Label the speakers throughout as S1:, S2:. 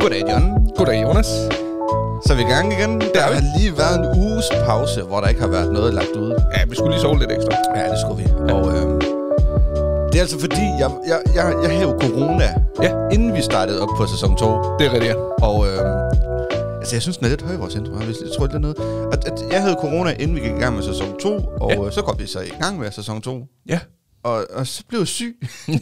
S1: Goddag, John.
S2: Goddag, Jonas.
S1: Så er vi i gang igen. Der
S2: er vi.
S1: har lige været en uges pause, hvor der ikke har været noget lagt ud.
S2: Ja, vi skulle lige sove lidt ekstra.
S1: Ja, det skulle vi. Og øh, det er altså fordi, jeg, jeg, jeg, jeg havde jo corona,
S2: Ja.
S1: inden vi startede op på sæson 2.
S2: Det er rigtigt.
S1: Og øh, altså, jeg synes, den er lidt høj, vores intro. Jeg tror, det er noget. At, at jeg havde corona, inden vi gik i gang med sæson 2, og
S2: Ja.
S1: ja. øh, så kom vi så i gang med sæson 2.
S2: Ja.
S1: Og, og så blev jeg syg.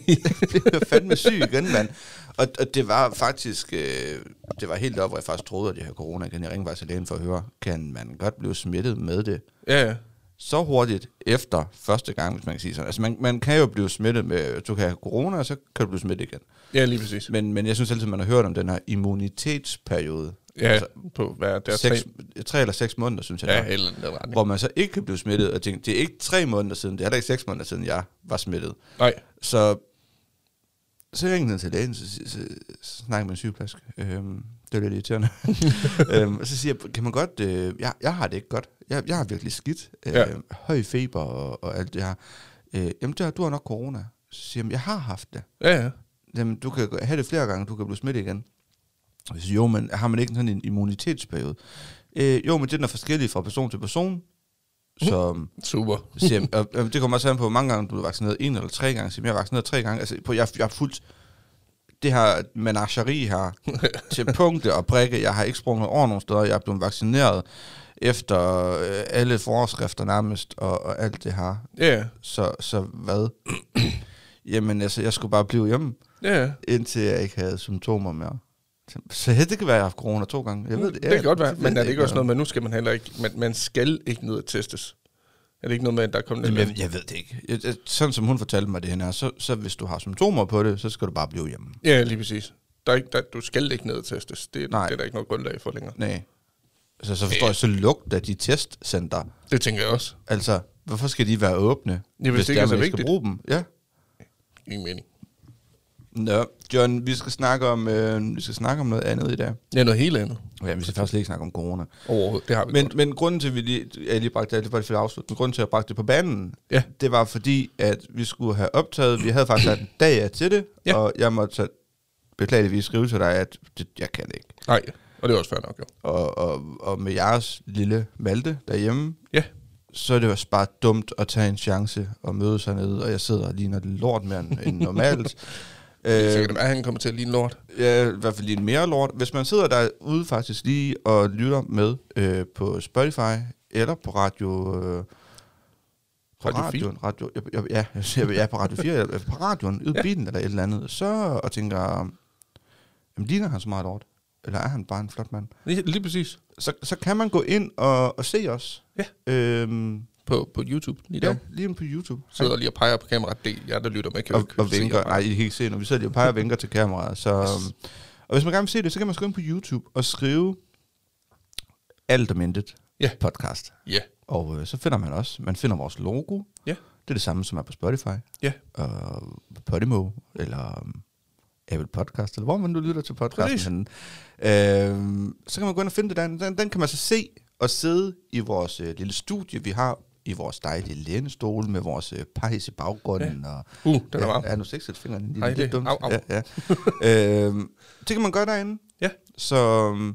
S1: jeg blev fandme syg igen, mand. Og, og det var faktisk, øh, det var helt op, hvor jeg faktisk troede, at jeg havde corona igen. Jeg ringte faktisk til lægen for at høre, kan man godt blive smittet med det
S2: Ja, ja.
S1: så hurtigt efter første gang, hvis man kan sige sådan. Altså man, man kan jo blive smittet med, du kan have corona, og så kan du blive smittet igen.
S2: Ja, lige præcis.
S1: Men, men jeg synes altid, man har hørt om den her immunitetsperiode.
S2: Ja, altså, på hvad er det? Seks,
S1: seks, tre. eller seks måneder, synes jeg.
S2: ja,
S1: det var.
S2: et eller andet retning.
S1: Hvor man så ikke kan blive smittet, og tænke, det er ikke tre måneder siden, det er heller ikke seks måneder siden, jeg var smittet.
S2: Nej.
S1: Så, så ringede jeg til lægen, så, så, så, så snakkede jeg med en sygeplejerske. Øhm, det var lidt irriterende. øhm, og så siger jeg, kan man godt, øh, jeg, jeg har det ikke godt. Jeg, jeg har virkelig skidt. Øh,
S2: Ja.
S1: Høj feber og, og alt det her. Øh, jamen, det har, du har nok corona. Så siger jeg, jeg har haft det.
S2: Ja, ja.
S1: Jamen, du kan have det flere gange, du kan blive smittet igen. Og jeg siger, jo, men har man ikke sådan en immunitetsperiode? Øh, jo, men den er forskellig fra person til person. Så
S2: Super.
S1: siger, jeg, og, og det kommer også an på, hvor mange gange du er vaccineret. En eller tre gange. Siger, jeg, jeg er vaccineret tre gange. Altså, på, jeg, jeg har fuldt det her menageri her til punkte og prikke. Jeg har ikke sprunget over nogen steder. Jeg er blevet vaccineret efter øh, alle forskrifter nærmest og, og alt det her.
S2: Ja, ja.
S1: Så, så hvad? Jamen, altså, jeg skulle bare blive hjemme
S2: Ja, ja.
S1: indtil jeg ikke havde symptomer mere. Så det kan være, at jeg har haft corona to gange. Jeg ved det.
S2: Mm, det
S1: jeg
S2: kan godt være,
S1: ved
S2: men er det ikke også
S1: hvad-
S2: noget med, nu skal man heller ikke, man, man skal ikke ned og testes? Er det ikke noget med, at der er kommet
S1: Jamen,
S2: lidt...
S1: jeg, jeg ved det ikke. Jeg, jeg, sådan som hun fortalte mig det her, så, så hvis du har symptomer på det, så skal du bare blive hjemme.
S2: Ja, lige præcis. Der er ikke, der, du skal ikke ned og testes. Det,
S1: Nej.
S2: det er der ikke noget grundlag for længere.
S1: Nej. Altså, så forstår jeg, så lugt af de testcenter.
S2: Det tænker jeg også.
S1: Altså, hvorfor skal de være åbne,
S2: Ja, hvis det ikke
S1: er,
S2: er så
S1: man skal
S2: vigtigt.
S1: bruge dem? Ja.
S2: Ingen mening.
S1: Nå, John, vi skal snakke om, øh, vi skal snakke om noget andet i dag.
S2: Ja, noget helt andet.
S1: Ja, vi skal faktisk ikke snakke om corona.
S2: Overhovedet. Det har vi
S1: Men,
S2: godt.
S1: men grunden til, at vi lige, jeg lige bragte det, det var det for afslut, men grunden til, at jeg bragte det på banen,
S2: Ja.
S1: det var fordi, at vi skulle have optaget, vi havde faktisk sat en dag af til det,
S2: Ja.
S1: og jeg måtte så beklageligvis skrive til dig, at det, jeg kan ikke.
S2: Nej, og det er også fair nok, jo.
S1: Og, og, og med jeres lille Malte derhjemme,
S2: Ja.
S1: så er det jo også bare dumt at tage en chance og møde sig nede, og jeg sidder lige når det lort mere end end normalt.
S2: Øh, så
S1: øh,
S2: kan det være, at han kommer til at ligne lort.
S1: Ja, i hvert fald lige en mere lort. Hvis man sidder derude faktisk lige og lytter med øh, på Spotify eller på radio... Øh, på
S2: Radio
S1: radioen, radio, ja, ja, ja, jeg siger, ja, på Radio 4, eller på radioen, ude i
S2: Ja.
S1: bilen eller et eller andet, så og tænker, jamen, ligner han så meget lort? Eller er han bare en flot mand?
S2: Lige, lige præcis.
S1: Så, så kan man gå ind og, og se os.
S2: Ja.
S1: Øhm,
S2: På, på YouTube lige
S1: ja,
S2: der.
S1: lige inde på YouTube.
S2: Sidder lige og peger på kameraet. Det er jer, der lytter med. Kan jo
S1: og,
S2: ikke
S1: og
S2: se,
S1: vinker.
S2: jeg
S1: Nej,
S2: peger.
S1: I kan ikke se, når vi sidder lige og peger og vinker til kameraet. Så, øhm, og hvis man gerne vil se det, så kan man skrive ind på YouTube og skrive alt om intet
S2: Ja.
S1: podcast.
S2: Ja.
S1: Og øh, så finder man også, man finder vores logo.
S2: Ja.
S1: Det er det samme, som er på Spotify.
S2: Ja.
S1: Og øh, Podimo, eller øhm, Apple Podcast, eller hvor man nu lytter til
S2: Præcis.
S1: podcasten. Øhm, så kan man gå ind og finde det der. Den, den kan man så se og sidde i vores øh, lille studie, vi har i vores dejlige lænestol med vores øh, pejs i baggrunden. Ja. Og,
S2: Uh, den er
S1: ja,
S2: varm.
S1: Ja, nu sexet fingeren. Det
S2: Ej,
S1: er lidt
S2: det-
S1: dumt.
S2: au, au.
S1: Ja, ja. øhm, det kan man gøre derinde.
S2: Ja.
S1: Så, øhm,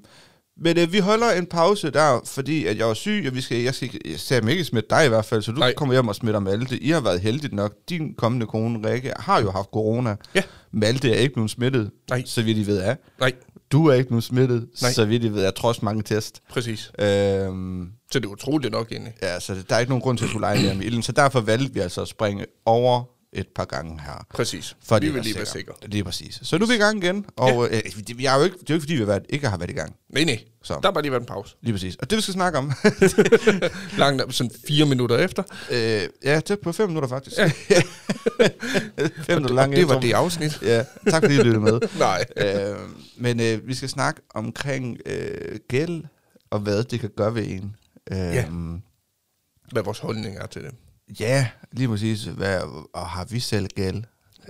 S1: men øh, vi holder en pause der, fordi at jeg var syg, og vi skal, jeg skal ikke, jeg sagde mig ikke smitte dig i hvert fald, så du
S2: Nej.
S1: Nej. kommer hjem og smitter Malte. I har været heldigt nok. Din kommende kone, Rikke, har jo haft corona.
S2: Ja.
S1: Malte er ikke blevet smittet,
S2: Nej.
S1: så vidt I ved af.
S2: Nej,
S1: Du er ikke blevet smittet,
S2: Nej.
S1: så vidt I ved af, trods mange test.
S2: præcis.
S1: Øhm,
S2: Så det er utroligt nok egentlig.
S1: ja, så der er ikke nogen grund til at skulle lege mere med ilden, så derfor valgte vi altså at springe over et par gange her.
S2: Præcis.
S1: For
S2: vi
S1: lige
S2: vil
S1: at
S2: lige være sikre.
S1: Det er præcis. Så nu er vi i gang igen, og ja. øh, det, jeg er jo ikke, det er jo ikke, fordi vi har været, ikke har været i gang.
S2: Nej, nej.
S1: Så.
S2: Der har bare lige været en pause.
S1: Lige præcis. Og det, vi skal snakke om,
S2: Langt sådan fire minutter efter.
S1: øh, ja, tæt på fem minutter faktisk. Ja. fem minutter lang
S2: det var
S1: intro.
S2: det afsnit.
S1: Ja, tak fordi I lyttede med.
S2: Nej.
S1: øh, men øh, vi skal snakke omkring øh, gæld, og hvad det kan gøre ved en. Øh,
S2: Ja. Hvad vores holdning er til det.
S1: Ja, lige præcis. Hvad, og har vi selv gæld?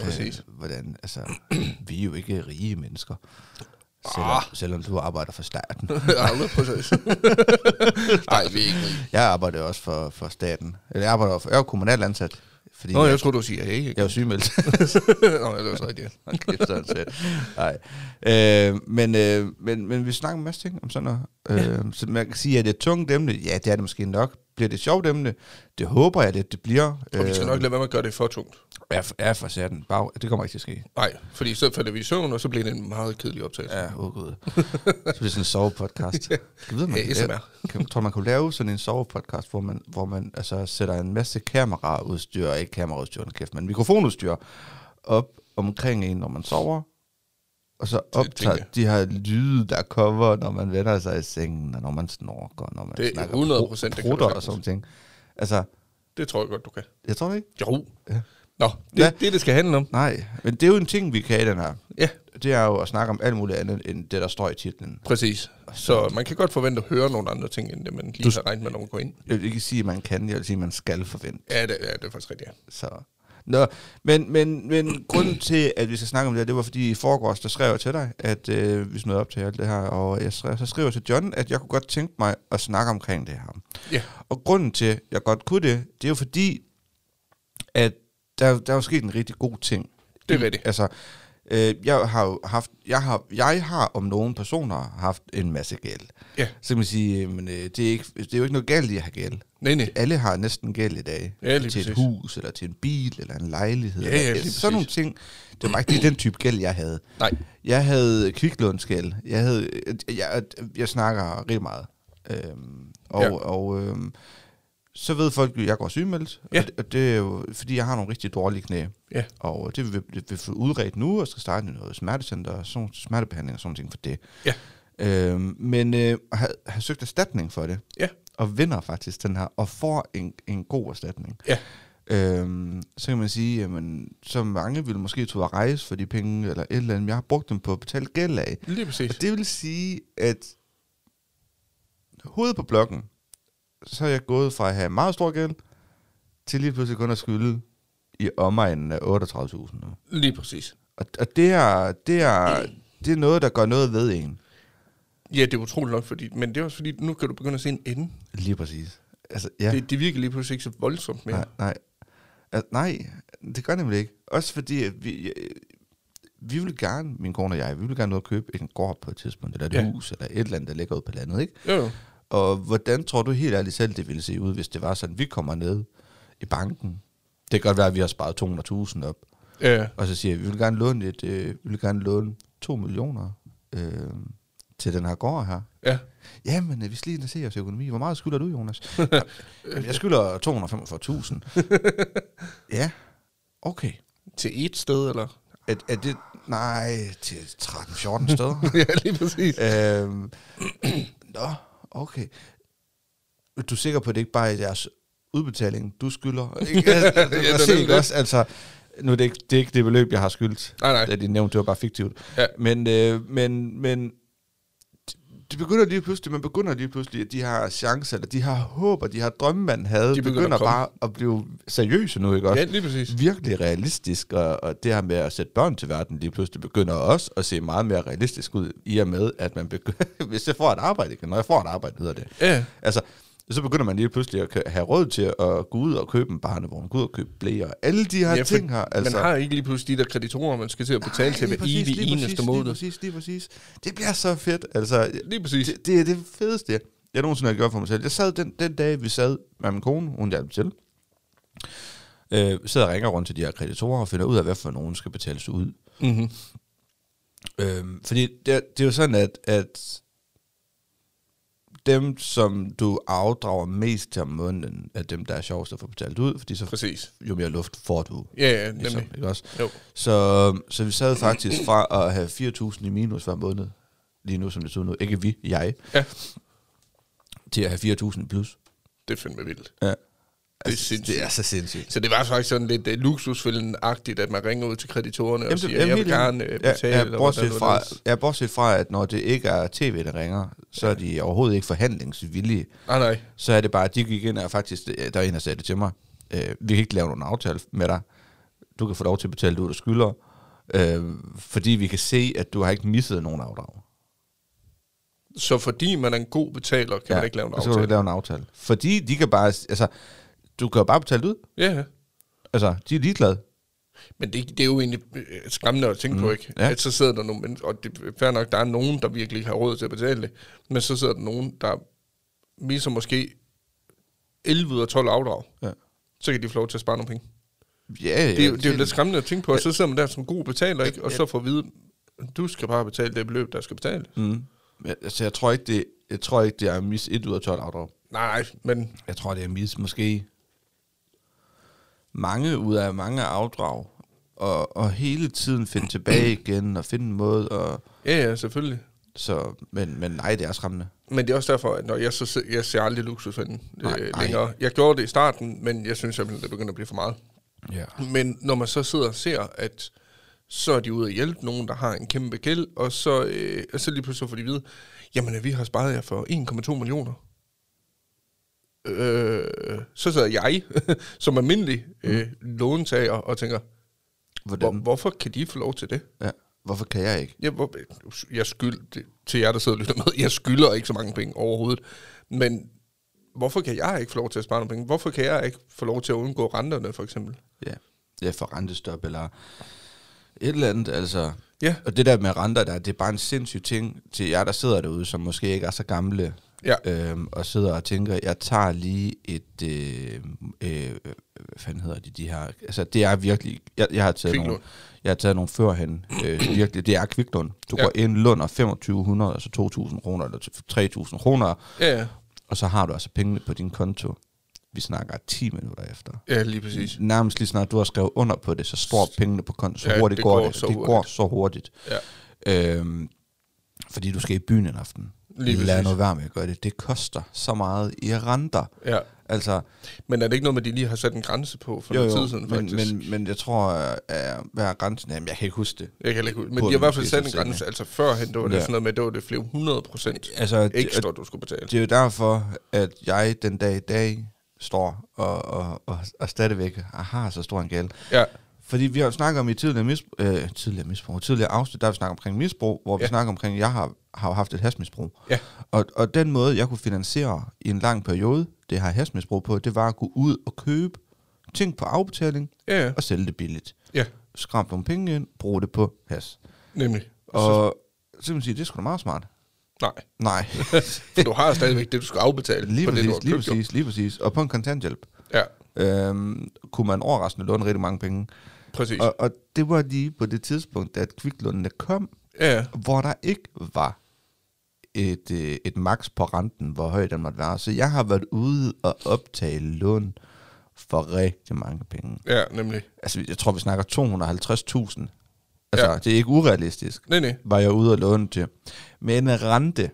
S2: Præcis.
S1: Øh, hvordan, altså, vi er jo ikke rige mennesker. Selvom,
S2: Ah.
S1: ah. selvom du arbejder for staten.
S2: Aldrig præcis. Nej, vi er ikke rige.
S1: Jeg arbejder også for, for staten. Eller jeg arbejder for, jeg er jo kommunalt ansat Fordi
S2: Nå,
S1: jeg,
S2: jeg tror du siger hey.
S1: jeg var sygemeldt.
S2: Nå, det var så rigtigt.
S1: Hold kæft, sådan set. Nej. Øh, men, øh, men, men vi snakker en masse ting om sådan noget. Øh, ja. Så man kan sige, at det er tungt emne. Ja, det er det måske nok. Bliver det sjovt emne? Det håber jeg lidt, det bliver.
S2: Og vi skal nok lade være med at gøre det for tungt.
S1: Ja, for, ja, for satan. Bag, det kommer ikke til at ske.
S2: Nej, fordi så falder vi i søvn, og så bliver det en meget kedelig optagelse.
S1: Ja, åh oh, gud. Så bliver det sådan en sovepodcast. Kan vide, man
S2: Ja,
S1: kan lave,
S2: ASMR.
S1: kan, tror, man kunne lave sådan en sovepodcast, hvor man, hvor man altså, sætter en masse kameraudstyr, ikke kameraudstyr, hold kæft, men mikrofonudstyr op omkring en, når man sover, og så optager
S2: tænker jeg.
S1: de her lyde, der kommer, når man vender sig i sengen, og når man snorker, når man
S2: Det er
S1: snakker
S2: 100%, det kan du
S1: prutter og
S2: sagtens.
S1: sådan ting. Altså,
S2: Det tror jeg godt, du kan.
S1: jeg tror det ikke.
S2: Jo.
S1: Ja.
S2: Nå, det
S1: Ja.
S2: er det, det skal handle om.
S1: Nej, men det er jo en ting, vi kan i den her.
S2: Ja,
S1: Det er jo at snakke om alt muligt andet, end det, der står i titlen.
S2: præcis. Så man kan godt forvente at høre nogle andre ting, end det, man lige har regnet med, når man går ind.
S1: Jeg vil ikke sige, at man kan, jeg vil sige, at man skal forvente.
S2: Ja, det, ja, det er faktisk rigtigt. Ja.
S1: Så. Nå, men, men, men grunden til, at vi skal snakke om det her, det var fordi i forgårs, der skrev jeg til dig, at øh, vi smed op til alt det her, og jeg skrev, så skrev jeg til John, at jeg kunne godt tænke mig at snakke omkring det her.
S2: Ja.
S1: Og grunden til, at jeg godt kunne det, det er jo fordi, at der, der er jo sket en rigtig god ting.
S2: Det er rigtigt.
S1: Altså, øh, jeg har jo haft, jeg har, jeg har om nogen personer haft en masse gæld.
S2: Ja.
S1: Så kan man sige, men øh, det, er ikke, det er jo ikke noget galt i at have gæld
S2: Nej, nej.
S1: alle har næsten gæld i dag.
S2: Ja, lige
S1: til et
S2: præcis.
S1: hus, eller til en bil, eller en lejlighed.
S2: Ja,
S1: eller- altså,
S2: ja, lige
S1: sådan nogle
S2: præcis.
S1: ting. Det var ikke lige den type gæld, jeg havde.
S2: Nej.
S1: Jeg havde kviklånsgæld. Jeg, havde, jeg, jeg, øh, jeg snakker rigtig meget. Øhm, og
S2: Ja.
S1: og øhm, så ved folk, jo, at jeg går sygemeldt.
S2: Ja.
S1: Og, det, og det er jo, fordi jeg har nogle rigtig dårlige knæ.
S2: Ja.
S1: Og det vil vi, vi få udredt nu, og skal starte med noget smertecenter, og sådan, smertebehandling og sådan ting for det.
S2: Ja.
S1: Øhm, men øh, har, har søgt erstatning for det
S2: Ja.
S1: og vinder faktisk den her, og får en, en god erstatning.
S2: Ja.
S1: Øhm, så kan man sige, jamen, så mange ville måske tage ud at rejse for de penge, eller et eller andet, men jeg har brugt dem på at betale gæld af.
S2: Lige præcis.
S1: Og det vil sige, at hovedet på blokken, så er jeg gået fra at have meget stor gæld, til lige pludselig kun at skylde i omegnen af 38.000. nu.
S2: Lige præcis.
S1: Og, og det, er, det, er, det er noget, der gør noget ved en.
S2: Ja, det er utroligt nok, fordi, men det er også fordi, nu kan du begynde at se en ende.
S1: Lige præcis. Altså,
S2: Ja.
S1: ja.
S2: Det, det virker lige pludselig ikke så voldsomt mere.
S1: Nej, nej. Altså, nej, det gør nemlig ikke. Også fordi, at vi, øh, vi vil gerne, min kone og jeg, vi vil gerne ud og købe en gård på et tidspunkt, eller et ja.
S2: Ja.
S1: hus, eller et eller andet, der ligger ude på landet, ikke?
S2: Jo, jo.
S1: Og hvordan tror du helt ærligt selv, det ville se ud, hvis det var sådan, vi kommer ned i banken? Det kan godt være, at vi har sparet 200.000 op,
S2: Ja.
S1: og så siger vi, vi vil gerne låne, et, øh, vi vil gerne låne 2 millioner øh, til den her gård her.
S2: ja.
S1: Jamen, øh, vi skal lige ind og se jeres økonomi. Hvor meget skylder du, Jonas? Jamen, jeg skylder 245.000. ja, okay.
S2: Til et sted, eller?
S1: Er, er det... Nej, til 13-14 steder.
S2: ja, lige præcis.
S1: øhm, nå, okay. Du er sikker på, at det ikke bare er jeres udbetaling, du skylder? Ikke? Altså,
S2: Ja, det er
S1: ja, det,
S2: nemlig
S1: ikke også? Altså, nu er det, ikke, det er ikke det beløb, jeg har skyldt.
S2: Nej, nej.
S1: Da de nævnte, det var bare fiktivt.
S2: Ja.
S1: Men, øh, men, men det begynder lige pludselig, man begynder lige pludselig, at de her chancer, eller de her håb, og de her drømme, man havde, de
S2: begynder
S1: begynder, begynder
S2: at komme.
S1: bare at blive seriøse nu, ikke også?
S2: Ja, lige præcis.
S1: Virkelig realistisk, og, og det her med at sætte børn til verden, lige pludselig begynder også at se meget mere realistisk ud, i og med, at man begynder, hvis jeg får et arbejde, ikke? når jeg får et arbejde, hedder det.
S2: Ja.
S1: Altså, så begynder man lige pludselig at kø- have råd til at gå ud og købe en barnevogn, gå ud og købe blæer, og alle de her
S2: ja,
S1: ja,
S2: for
S1: ting her. Altså.
S2: Man har ikke lige pludselig de der kreditorer, man skal til at betale
S1: Nej,
S2: til hver
S1: lige præcis,
S2: evig
S1: lige præcis,
S2: eneste
S1: Lige
S2: måned.
S1: præcis, lige præcis. Det bliver så fedt. Altså,
S2: Lige præcis.
S1: det, det er det fedeste, jeg nogensinde har gjort for mig selv. Jeg sad den, den dag, vi sad med min kone, hun hjalp til. Øh, sidder og ringer rundt til de her kreditorer og finder ud af, hvad for nogen skal betales ud.
S2: Mm-hmm.
S1: Øhm, fordi det, er- det er jo sådan, at, at dem, som du afdrager mest til om måneden, er dem, der er sjovest at få betalt ud, fordi så
S2: Præcis.
S1: jo mere luft får du.
S2: Ja, ja,
S1: Ligesom,
S2: nemlig.
S1: ikke også?
S2: Jo.
S1: Så, så vi sad faktisk fra at have 4.000 i minus hver måned, lige nu som det ser ud nu, ikke vi, jeg,
S2: Ja,
S1: til at have 4.000 i plus.
S2: det er fandme vildt.
S1: Ja. Altså,
S2: sindssygt.
S1: det er så sindssygt.
S2: Så det var faktisk sådan lidt uh, luksusfælden-agtigt, at man ringer ud til kreditorerne og
S1: Jamen,
S2: siger,
S1: det- jamen,
S2: jeg vil
S1: helt
S2: gerne uh,
S1: enig.
S2: betale.
S1: Ja,
S2: eller
S1: ja, bortset,
S2: hvordan,
S1: fra,
S2: hvordan.
S1: ja, bortset fra, at når det ikke er tv, der ringer, så er de overhovedet ikke forhandlingsvillige.
S2: Nej, nej.
S1: Så er det bare, at de gik ind og faktisk, øh, der er en, der sagde det til mig, øh, vi kan ikke lave nogen aftale med dig. Du kan få lov til at betale det ud, du skylder. Øh, fordi vi kan se, at du har ikke misset nogen afdrag.
S2: Så fordi man er en god betaler, kan man ikke lave en
S1: Så kan du ikke
S2: aftale.
S1: lave en aftale. Fordi de kan bare, altså, du kan jo bare betale det ud.
S2: Ja, ja.
S1: Altså, de er ligeglade.
S2: Men det, det er jo egentlig øh, skræmmende at tænke mm. på, ikke?
S1: ja.
S2: Ja. At så sidder der nogen, men- og det er fair nok, der er nogen, der virkelig ikke har råd til at betale det, men så sidder der nogen, der viser måske 11 ud af 12 afdrag.
S1: Ja.
S2: Så kan de få lov til at spare nogle penge.
S1: Ja, ja,
S2: Det er, jo, det er jo lidt skræmmende at tænke på, og så sidder man der som god betaler, ikke? Og så får at vide, du skal bare betale det beløb, der skal betales.
S1: Mm. Men, altså, jeg tror ikke, det, jeg tror ikke, det er mis 1 ud af 12 afdrag.
S2: Nej, men
S1: Jeg tror, det er mis måske mange ud af mange afdrag. Og, og hele tiden finde tilbage igen, og finde en måde. Og,
S2: ja, ja, selvfølgelig.
S1: så, men, men nej, det er skræmmende.
S2: Men det er også derfor, at når jeg, så sidder, jeg ser aldrig luksusfælden
S1: Nej,
S2: øh,
S1: nej.
S2: længere. Jeg gjorde det i starten, men jeg synes simpelthen, det begynder at blive for meget.
S1: Ja.
S2: Men når man så sidder og ser, at så er de ude at hjælpe nogen, der har en kæmpe gæld, og så, øh, og så lige pludselig får de at vide, jamen øh, vi har sparet jer for 1,2 millioner. Øh, så sidder jeg som almindelig øh, låntager og tænker, hvor,
S1: Hvordan?
S2: hvorfor kan de få lov til det?
S1: Ja. Hvorfor kan jeg ikke?
S2: Jeg, hvor, jeg skyld, det- til jer, der sidder og lytter med, jeg skylder ikke så mange penge overhovedet, men hvorfor kan jeg ikke få lov til at spare nogle penge? Hvorfor kan jeg ikke få lov til at undgå renterne, for eksempel?
S1: Ja. Ja, for rentestop eller et eller andet, altså.
S2: Ja.
S1: Og det der med renter, der, det er bare en sindssyg ting til jer, der sidder derude, som måske ikke er så gamle,
S2: Ja.
S1: øhm, og sidder og tænker, jeg tager lige et, øh, øh, hvad fanden hedder de, de her, altså det er virkelig, jeg, jeg har taget
S2: Kviklån.
S1: nogle, jeg har taget nogle førhen, øh, virkelig, det er kviklån. Du
S2: Ja.
S1: går ind, låner 2500, altså 2.000 kroner, eller 3.000 kroner,
S2: Ja, ja.
S1: og så har du altså pengene på din konto. Vi snakker 10 minutter efter
S2: Ja, lige præcis.
S1: nærmest lige snart du har skrevet under på det, så står pengene på konten, så
S2: Ja,
S1: ja, hurtigt
S2: det
S1: det går,
S2: går
S1: det.
S2: så
S1: det går
S2: hurtigt.
S1: så hurtigt.
S2: Ja.
S1: Øhm, fordi du skal i byen en aften.
S2: Lige
S1: Lad
S2: præcis.
S1: nu være med at gøre det. Det koster så meget i renter.
S2: ja.
S1: Altså,
S2: Men er det ikke noget med, at de lige har sat en grænse på for
S1: jo,
S2: noget
S1: jo,
S2: tid siden,
S1: men,
S2: faktisk? Men,
S1: men, men jeg tror, at hvad er grænsen? Jamen, jeg kan ikke huske det.
S2: jeg kan heller ikke, ud- men
S1: På
S2: de har i
S1: den
S2: hvert fald
S1: sidste
S2: sat en
S1: sætning.
S2: grænse, altså førhen, det var det
S1: Ja.
S2: sådan noget med, det var det flere 100 procent
S1: Altså, det-
S2: ekstra, du skulle betale.
S1: Det er jo derfor, at jeg den dag i dag står og, og, og, og stadigvæk har så stor en gæld.
S2: Ja,
S1: Fordi vi har jo snakket om i tidligere, misbrug, øh, tidligere misbrug, tidligere afsnit, der har vi snakket omkring misbrug, hvor ja.
S2: Ja.
S1: vi snakker omkring, at jeg har, har jo haft et hasmisbrug.
S2: Ja.
S1: Og, og den måde, jeg kunne finansiere i en lang periode, det her hasmisbrug på, det var at gå ud og købe ting på afbetaling
S2: ja, ja.
S1: og sælge det billigt.
S2: ja
S1: Skrampe nogle penge ind, bruge det på has.
S2: nemlig. Og, så,
S1: Og så kan man sige, det er sgu da meget smart.
S2: nej,
S1: Nej,
S2: for du har stadigvæk det, du skal afbetale
S1: lige
S2: på det, du har
S1: præcis, lige
S2: købt, jo.
S1: præcis, lige præcis. Og på en kontanthjælp
S2: Ja,
S1: øhm, kunne man overraskende låne rigtig mange penge.
S2: præcis.
S1: Og, og det var lige på det tidspunkt, at kviklånene kom,
S2: Ja, ja.
S1: hvor der ikke var et, øh, et max på renten, hvor høj den måtte være. Så jeg har været ude og optage lån for rigtig mange penge.
S2: ja, nemlig.
S1: Altså, jeg tror, vi snakker 250.000. Altså,
S2: Ja.
S1: ja. det er ikke urealistisk,
S2: Nej, nej.
S1: var jeg ude og låne til. Med en rente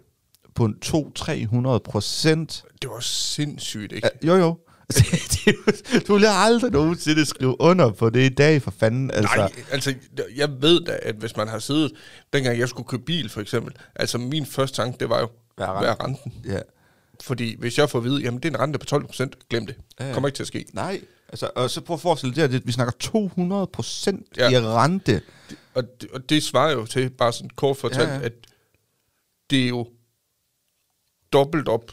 S1: på en 200-300 procent.
S2: Det var sindssygt, ikke?
S1: Ja, Jo, jo. Altså, det er jo- du vil aldrig nogensinde skrive under på det i dag, for fanden. Altså,
S2: Nej, altså, jeg ved da, at hvis man har siddet, dengang jeg skulle købe bil, for eksempel, altså min første tanke, det var jo,
S1: Hvad
S2: hvad
S1: er
S2: er
S1: renten?
S2: renten?
S1: Ja.
S2: Fordi hvis jeg får at vide, jamen det er en rente på 12 procent, glem det.
S1: Ja, ja.
S2: Kommer ikke til at ske.
S1: Nej. Altså, og så prøv at forestille dig, at vi snakker 200 procent
S2: Ja.
S1: ja. Altså- i rente.
S2: Og det, og det svarer jo til, bare sådan kort fortalt, ja,
S1: Ja,
S2: ja.
S1: ja.
S2: at det er jo dobbelt op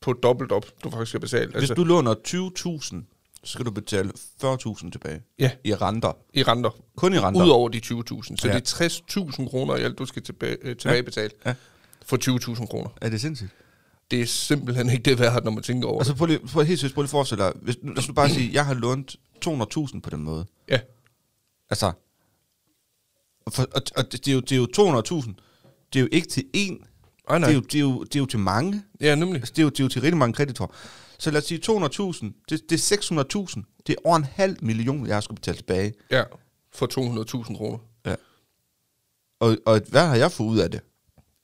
S2: på dobbelt op, du faktisk skal betale. Altså,
S1: Hvis du låner 20.000, så skal du betale 40.000 tilbage
S2: Ja.
S1: i renter.
S2: I renter.
S1: Kun i renter.
S2: Udover de 20.000. Så ja.
S1: Ja.
S2: det er 60.000 kroner i alt, du skal tilbage, øh, tilbagebetale ja.
S1: Ja.
S2: for 20.000 kroner.
S1: Er det sindssygt?
S2: Det er simpelthen ikke det værd, når man tænker over
S1: Og så prøv lige, prøv helt seriøst, prøv lige at forestille dig, hvis, nu- lad os nu bare sige, jeg har lånt 200.000 på den måde.
S2: det. Ja.
S1: Altså, og for, og, og det, det, er jo, det er jo 200.000. Det er jo ikke til én.
S2: Ej, nej.
S1: Det, er jo, det, er jo, det er jo til mange.
S2: ja, nemlig.
S1: Altså, det er jo, det er jo til rigtig mange kreditorer. Så lad os sige 200.000, det, det er 600.000. Det er over en halv million, jeg har skulle betale tilbage.
S2: Ja, for 200.000 kroner.
S1: Ja. Og, og hvad har jeg fået ud af det?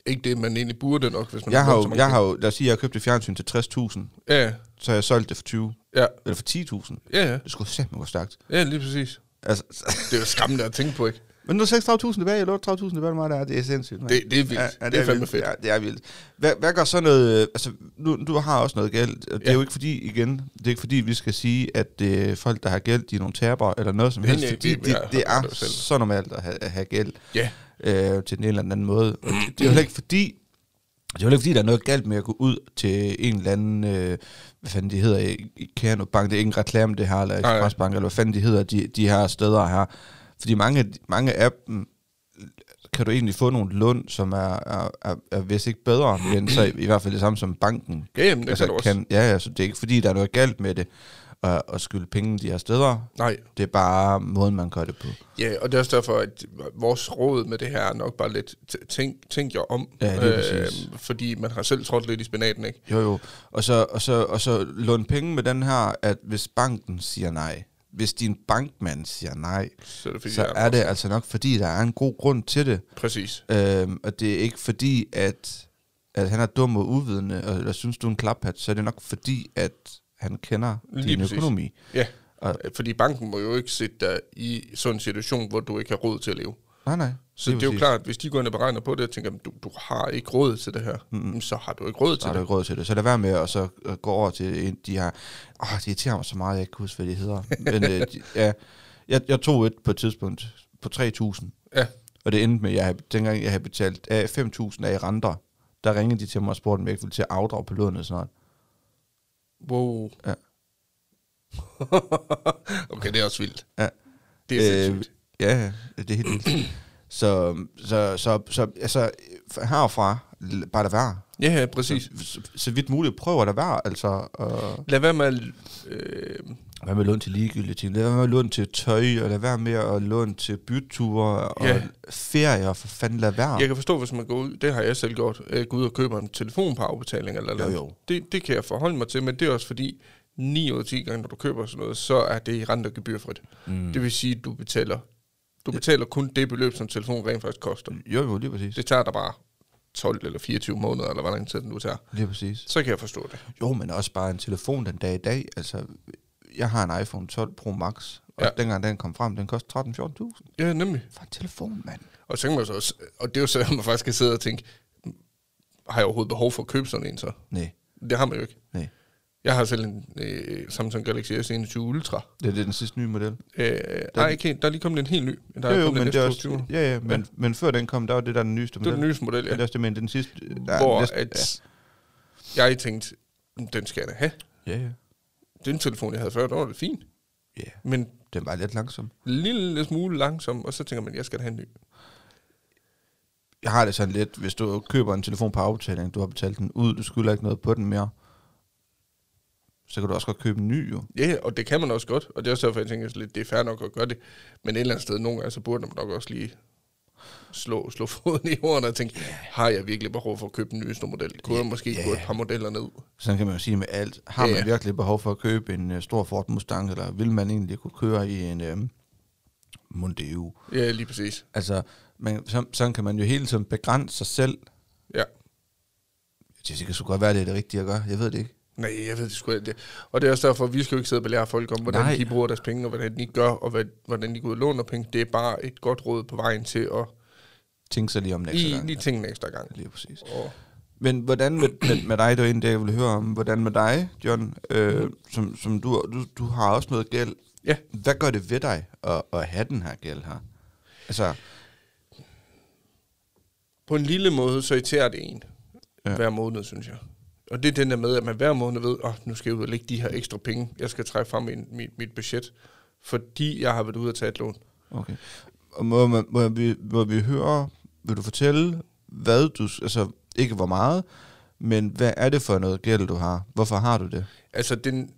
S2: Ikke det, man egentlig burde nok, hvis man
S1: Jeg har,
S2: gjort så
S1: jo,
S2: mange
S1: jeg har jo, lad os sige, jeg har købt et fjernsyn til 60.000,
S2: ting. Ja,
S1: så har jeg solgt det for 20,
S2: ja,
S1: eller for 10.000.
S2: ja, ja.
S1: Det skulle simpelthen gå stærkt.
S2: Ja, lige præcis.
S1: Altså,
S2: Det er jo skræmmende at tænke på, ikke?
S1: men nu er 6.000 tilbage, eller 8.000 tilbage, hvor meget der er, det er sindssygt. mand.
S2: Det, det er vildt. Ja, ja, det, det er fandme
S1: vildt.
S2: fedt.
S1: Ja, det er vildt. Hvad, hvad gør så noget, øh, altså, nu, du har også noget gæld, og det
S2: Ja.
S1: er jo ikke fordi, igen, det er ikke fordi, vi skal sige, at øh, folk, der har gæld, de er nogle tabere, eller noget som
S2: Nej,
S1: helst,
S2: nej,
S1: fordi
S2: det-
S1: det, det,
S2: jeg
S1: det
S2: har
S1: er
S2: det jo selv.
S1: så normalt at have, at have gæld.
S2: Ja,
S1: øh, til den ene eller den anden måde. Og det, det er jo heller ikke fordi, Det er jo ikke, fordi der er noget galt med at gå ud til en eller anden, øh, hvad fanden de hedder, I- Ikano Bank, det er ikke en reklame det her, eller
S2: nej.
S1: Expressbank, eller hvad fanden de hedder, de, de her steder her. Fordi mange, mange af dem kan du egentlig få nogle lån, som er, er, er, er vist ikke bedre, men så i, i hvert fald det samme som banken.
S2: Ja, jamen, det altså, kan du også. Kan...
S1: ja, ja, så det er ikke fordi, der er noget galt med det, at, at skylde penge de her steder.
S2: Nej.
S1: Det er bare måden, man gør det på.
S2: Ja, og det er også derfor, at vores råd med det her er nok bare lidt, t- tænk, tænk jer om. Øh,
S1: Ja, lige præcis.
S2: fordi man har selv trådt lidt i spinaten, ikke?
S1: Jo, jo. Og så, og så, og så lån penge med den her, at hvis banken siger nej, hvis din bankmand siger nej,
S2: Så, det fik
S1: så
S2: jeg-
S1: er det altså nok, fordi der er en god grund til det.
S2: Præcis.
S1: Øhm, og det er ikke fordi, at, at han er dum og uvidende, og, eller synes du er en klaphat, så er det nok fordi, at han kender
S2: Lige
S1: din
S2: præcis.
S1: økonomi.
S2: Ja, Øh,
S1: Og-
S2: fordi banken må jo ikke sætte dig i sådan en situation, hvor du ikke har råd til at leve.
S1: Nej, nej.
S2: Så det, det er jo klart, at hvis de går ind og beregner på det, og tænker, du, du har ikke råd til det her, mm. så har du ikke råd
S1: Så
S2: til
S1: har
S2: det.
S1: du ikke råd til det. Så lad være med at så øh, gå over til en, de her... Åh, det irriterer mig så meget, jeg ikke kan huske, hvad de hedder. Men øh, de, ja, jeg, jeg tog et på et tidspunkt på 3.000.
S2: Ja,
S1: Og det endte med, at jeg, havde- dengang jeg havde betalt af 5.000 af i renter, der ringede de til mig og spurgte, om jeg ikke ville til at afdrage på lånet snart.
S2: wow.
S1: Ja.
S2: okay, det er også vildt.
S1: Ja.
S2: Det er øh,
S1: ja, ja, det er helt vildt. Så, så, så, så altså, herfra, l- bare lad være.
S2: Ja, ja, præcis.
S1: Så, så vidt muligt, prøv at lade være, altså. Og
S2: Lad være med at... Øh,
S1: hvad med lån til ligegyldige ting? Lad være med at låne til tøj, og lad være med at låne til byture og
S2: Ja.
S1: ferier, for fanden lad være.
S2: jeg kan forstå, hvis man går ud, det har jeg selv gjort, øh, går ud og køber en telefon på afbetaling eller noget.
S1: jo.
S2: Det, det kan jeg forholde mig til, men det er også fordi, 9 ud af 10 gange, når du køber sådan noget, så er det i rent og gebyrfrit. Mm. Det vil sige, at du betaler, du betaler kun det beløb, som telefonen rent faktisk koster.
S1: Jo, jo, lige præcis.
S2: Det tager dig bare 12 eller 24 måneder, eller hvor lang tid den nu tager.
S1: Lige præcis.
S2: Så kan jeg forstå det.
S1: Jo, men også bare en telefon den dag i dag. Altså, jeg har en iPhone 12 Pro Max, og
S2: Ja.
S1: ja. dengang den kom frem, den kostede 13-14.000.
S2: Ja, nemlig.
S1: For en telefon, mand.
S2: Og, så kan man så også, og det er jo så, at man faktisk kan sidde og tænke, har jeg overhovedet behov for at købe sådan en så?
S1: Nej,
S2: Det har man jo ikke.
S1: nej.
S2: Jeg har selv en øh, Samsung Galaxy S21 Ultra.
S1: Det, det er den sidste nye model.
S2: Øh, nej, ikke helt. Der er lige kommet en helt ny. Der
S1: jo,
S2: er
S1: jo,
S2: kommet
S1: men
S2: en
S1: det er
S2: S22.
S1: også, ja, ja, men, ja. men før den kom, der var det der er den nyeste
S2: Det er
S1: model.
S2: den nyeste model,
S1: Ja. Det er
S2: ja.
S1: også det, men den sidste... Der er
S2: Hvor
S1: næsten-
S2: at jeg tænkte, den skal jeg da have.
S1: Ja, ja.
S2: Den telefon, jeg havde før, der var det fint.
S1: Ja,
S2: Men en
S1: den var lidt langsom.
S2: lille smule langsom, og så tænker man, jeg skal da have en ny.
S1: Jeg har det sådan lidt, hvis du køber en telefon på afbetaling, du har betalt den ud, du skylder ikke noget på den mere, så kan du også godt købe en ny, jo.
S2: Ja, og det kan man også godt, og det er også derfor, jeg tænker, at det er fair nok at gøre det. Men et eller andet sted, nogle gange, så burde man nok også lige slå, slå foden i jorden og tænke, har jeg virkelig behov for at købe den nyeste model? Kunne jeg måske
S1: Ja.
S2: gå et par modeller ned?
S1: Sådan kan man jo sige med alt. Har man
S2: Ja, ja.
S1: virkelig behov for at købe en uh, stor Ford Mustang, eller vil man egentlig kunne køre i en um, Mondeo?
S2: Ja, lige præcis.
S1: Altså, man, så, sådan kan man jo hele tiden begrænse sig selv.
S2: Ja.
S1: Det kan sgu godt være, det er det rigtige at gøre. Jeg ved det ikke.
S2: Nej, jeg ved det sgu ikke. det. Og det er også derfor, vi skal jo ikke sidde og belære folk om, hvordan
S1: Nej.
S2: Nej. de bruger deres penge, og hvordan de gør, og hvad, hvordan de går ud og låner penge. Det er bare et godt råd på vejen til at
S1: Tænk så lige om næste
S2: lige,
S1: gang.
S2: lige tænke næste gang.
S1: Lige præcis.
S2: Og
S1: Men hvordan med, med, med dig, det var en dag, jeg ville høre om, hvordan med dig, John, øh,
S2: Mm.
S1: som, som du, du, du har også noget gæld.
S2: Ja.
S1: Hvad gør det ved dig at, at have den her gæld her? Altså,
S2: på en lille måde, så irriterer det en
S1: Ja.
S2: ja. hver måned, synes jeg. Og det er den der med, at man hver måned ved, at oh, nu skal jeg ud og lægge de her ekstra penge, jeg skal trække fra min, mit, mit budget, fordi jeg har været ude og tage et lån.
S1: okay. Og må, man, må, vi, må vi høre, vil du fortælle, hvad du, altså ikke hvor meget, men hvad er det for noget gæld, du har? Hvorfor har du det?
S2: Altså, den,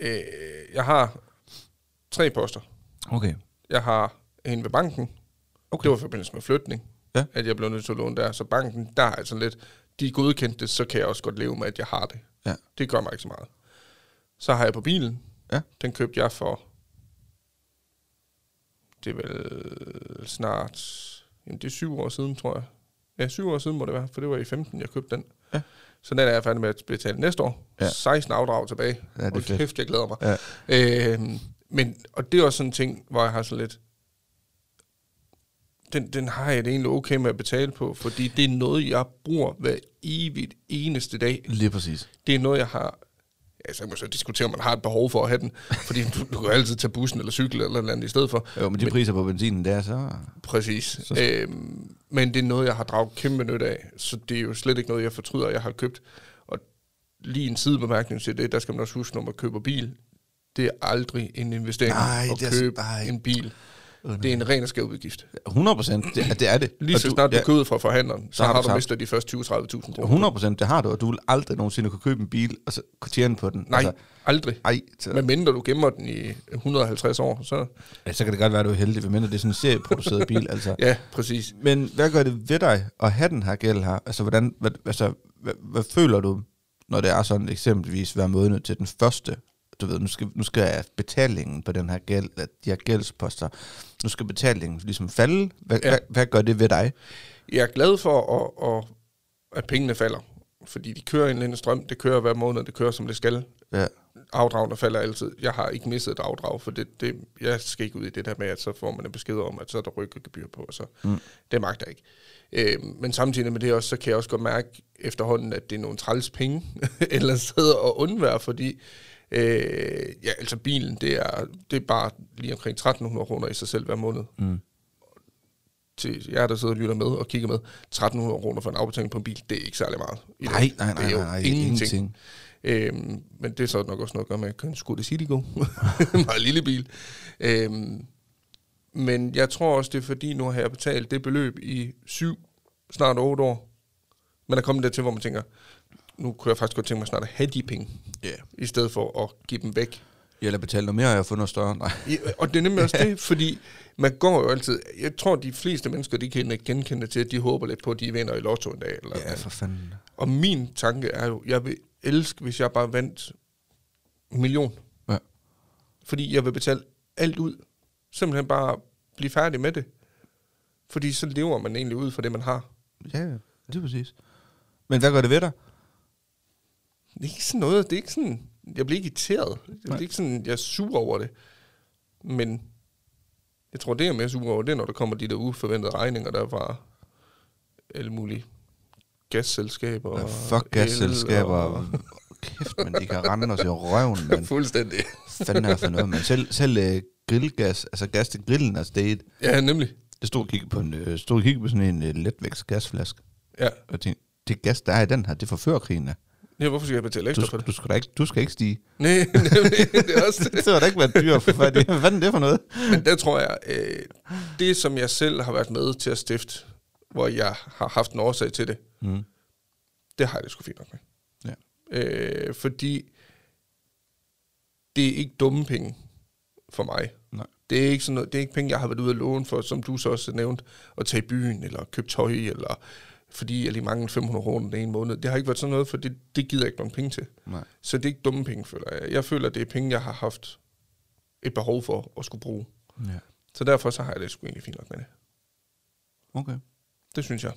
S2: øh, jeg har tre poster.
S1: Okay.
S2: Jeg har en ved banken. Okay. Det var i forbindelse med flytning,
S1: Ja.
S2: at jeg blev nødt til at låne der. Så banken, der er altså lidt, de godkendte det, så kan jeg også godt leve med, at jeg har det.
S1: Ja.
S2: Det gør mig ikke så meget. Så har jeg på bilen.
S1: Ja.
S2: Den købte jeg for, det er vel snart, jamen det er syv år siden, tror jeg. Ja, syv år siden må det være, for det var i 15, jeg købte den.
S1: Ja.
S2: Så den er jeg færdig med at betale næste år.
S1: Ja.
S2: 16 afdrag tilbage.
S1: Ja, det er
S2: Hold
S1: fedt.
S2: kæft, jeg glæder mig.
S1: Ja.
S2: Øhm, men, og det er også sådan en ting, hvor jeg har sådan lidt, den, den har jeg det egentlig okay med at betale på, fordi det er noget, jeg bruger hver evigt eneste dag.
S1: Lige præcis.
S2: Det er noget, jeg har... Ja, så kan man så diskutere, om man har et behov for at have den, fordi du, du kan jo altid tage bussen eller cykel eller noget andet i stedet for.
S1: Jo, men de priser på benzinen, der er så...
S2: Præcis. Øhm, Men det er noget, jeg har draget kæmpe nyt af, så det er jo slet ikke noget, jeg fortryder, jeg har købt. Og lige en sidebemærkning til det, der skal man også huske, når man køber bil, det er aldrig en investering
S1: Nej,
S2: at
S1: det er så-
S2: købe
S1: nej.
S2: en bil. Det er en ren og skæv udgift.
S1: 100 procent, det, det er det.
S2: Lige
S1: Og
S2: så
S1: du-
S2: snart du
S1: ja,
S2: køber ud fra forhandleren, så
S1: har
S2: har
S1: du
S2: du
S1: tabt.
S2: mistet de første 20-30.000 kroner.
S1: 100 procent, det har du, og du vil aldrig nogensinde kunne købe en bil, og så kunne tjene på den.
S2: Nej,
S1: Altså,
S2: aldrig.
S1: ej, så,
S2: Men mindre du gemmer den i 150 år, så...
S1: ja, så kan det godt være, at du er heldig, medmindre det er sådan en serieproduceret bil. Altså.
S2: Ja, præcis.
S1: Men hvad gør det ved dig at have den her gæld her? Altså, hvordan, hvad, altså, hvad, hvad føler du, når det er sådan eksempelvis hver måned til den første? Du ved, nu skal, nu skal betalingen på den her gæld, eller de her gældsposter, nu skal betalingen ligesom falde. Hvad,
S2: Ja.
S1: ja. hvad, hvad gør det ved dig?
S2: Jeg er glad for, at, at, at pengene falder. Fordi de kører en eller anden strøm. Det kører hver måned, det kører som det skal.
S1: Ja.
S2: Afdragene falder altid. Jeg har ikke misset et afdrag, for det, det, jeg skal ikke ud i det der med, at så får man en besked om, at så er der rykket gebyr på, og så mm. det magter jeg ikke. Øh, men samtidig med det også, så kan jeg også godt mærke efterhånden, at det er nogle træls penge, eller sidder og undvære, fordi øh, ja, altså bilen, det er, det er bare lige omkring 1300 kroner i sig selv hver måned.
S1: Mm.
S2: til jer, der sidder og lytter med og kigger med, 1300 kroner for en afbetaling på en bil, det er ikke særlig meget. i dag.
S1: Nej, nej, nej,
S2: det er jo
S1: nej, nej,
S2: ingenting.
S1: ingenting.
S2: Øhm, men det er så nok også noget at gøre med, at jeg kører en Skoda Citigo. en meget lille bil. Øhm, men jeg tror også, det er fordi, nu har jeg betalt det beløb i syv, snart otte år. Men der kommer det til, hvor man tænker, nu kunne jeg faktisk godt tænke mig snart at have de penge,
S1: Ja.
S2: i stedet for at give dem væk.
S1: Jeg lader betale noget mere, og jeg har fundet noget større. Nej.
S2: Ja, og det er nemlig også det, fordi man går jo altid... Jeg tror, de fleste mennesker, de kan ikke genkende til, at de håber lidt på, at de vinder i lotto en dag. Eller
S1: Ja, for fanden.
S2: Og min tanke er jo, jeg vil elske, hvis jeg bare vandt en million.
S1: Ja.
S2: Fordi jeg vil betale alt ud. Simpelthen bare blive færdig med det. Fordi så lever man egentlig ud for det, man har.
S1: Ja, ja, det er præcis. Men hvad gør det ved dig?
S2: Det er ikke sådan noget, det er ikke sådan, jeg bliver ikke irriteret. Det er
S1: Nej.
S2: ikke sådan, jeg er sur over det. Men jeg tror, det jeg er mere sur over, det er, når der kommer de der uforventede regninger, der er fra alle mulige gasselskaber.
S1: Ja,
S2: og
S1: fuck
S2: el
S1: gasselskaber. Og... Kæft, men de kan rende os i røven,
S2: Og...
S1: mand.
S2: Fuldstændig.
S1: fanden er det for noget, men selv, selv øh, grillgas, altså gas til grillen er steget.
S2: Ja, nemlig.
S1: Jeg stod og kiggede på, en, øh, stod og kiggede på sådan en øh, letvægts gasflaske,
S2: Ja.
S1: og jeg tænkte, det gas, der er i den her, det forfører krigen af.
S2: ja, hvorfor skal jeg betale
S1: Du,
S2: ekstra for det?
S1: du, skal da ikke, du skal ikke stige.
S2: Nej, nemlig, det er også det.
S1: Det har da ikke været dyrt for fat i. Hvad fanden er det for noget?
S2: Men der tror jeg, øh, det som jeg selv har været med til at stifte, hvor jeg har haft en årsag til det,
S1: Mm.
S2: det har jeg det sgu fint nok med.
S1: Ja.
S2: Øh, fordi det er ikke dumme penge for mig.
S1: Nej.
S2: Det er ikke sådan noget, det er ikke penge, jeg har været ude at låne for, som du så også nævnte, at tage i byen, eller købe tøj, eller fordi jeg lige mangler 500 kroner den ene måned. Det har ikke været sådan noget, for det, det gider jeg ikke nogen penge til.
S1: Nej.
S2: Så det er ikke dumme penge, føler jeg. Jeg føler, det er penge, jeg har haft et behov for at skulle bruge.
S1: Ja.
S2: Så derfor så har jeg det sgu egentlig fint nok med det.
S1: Okay.
S2: Det synes jeg.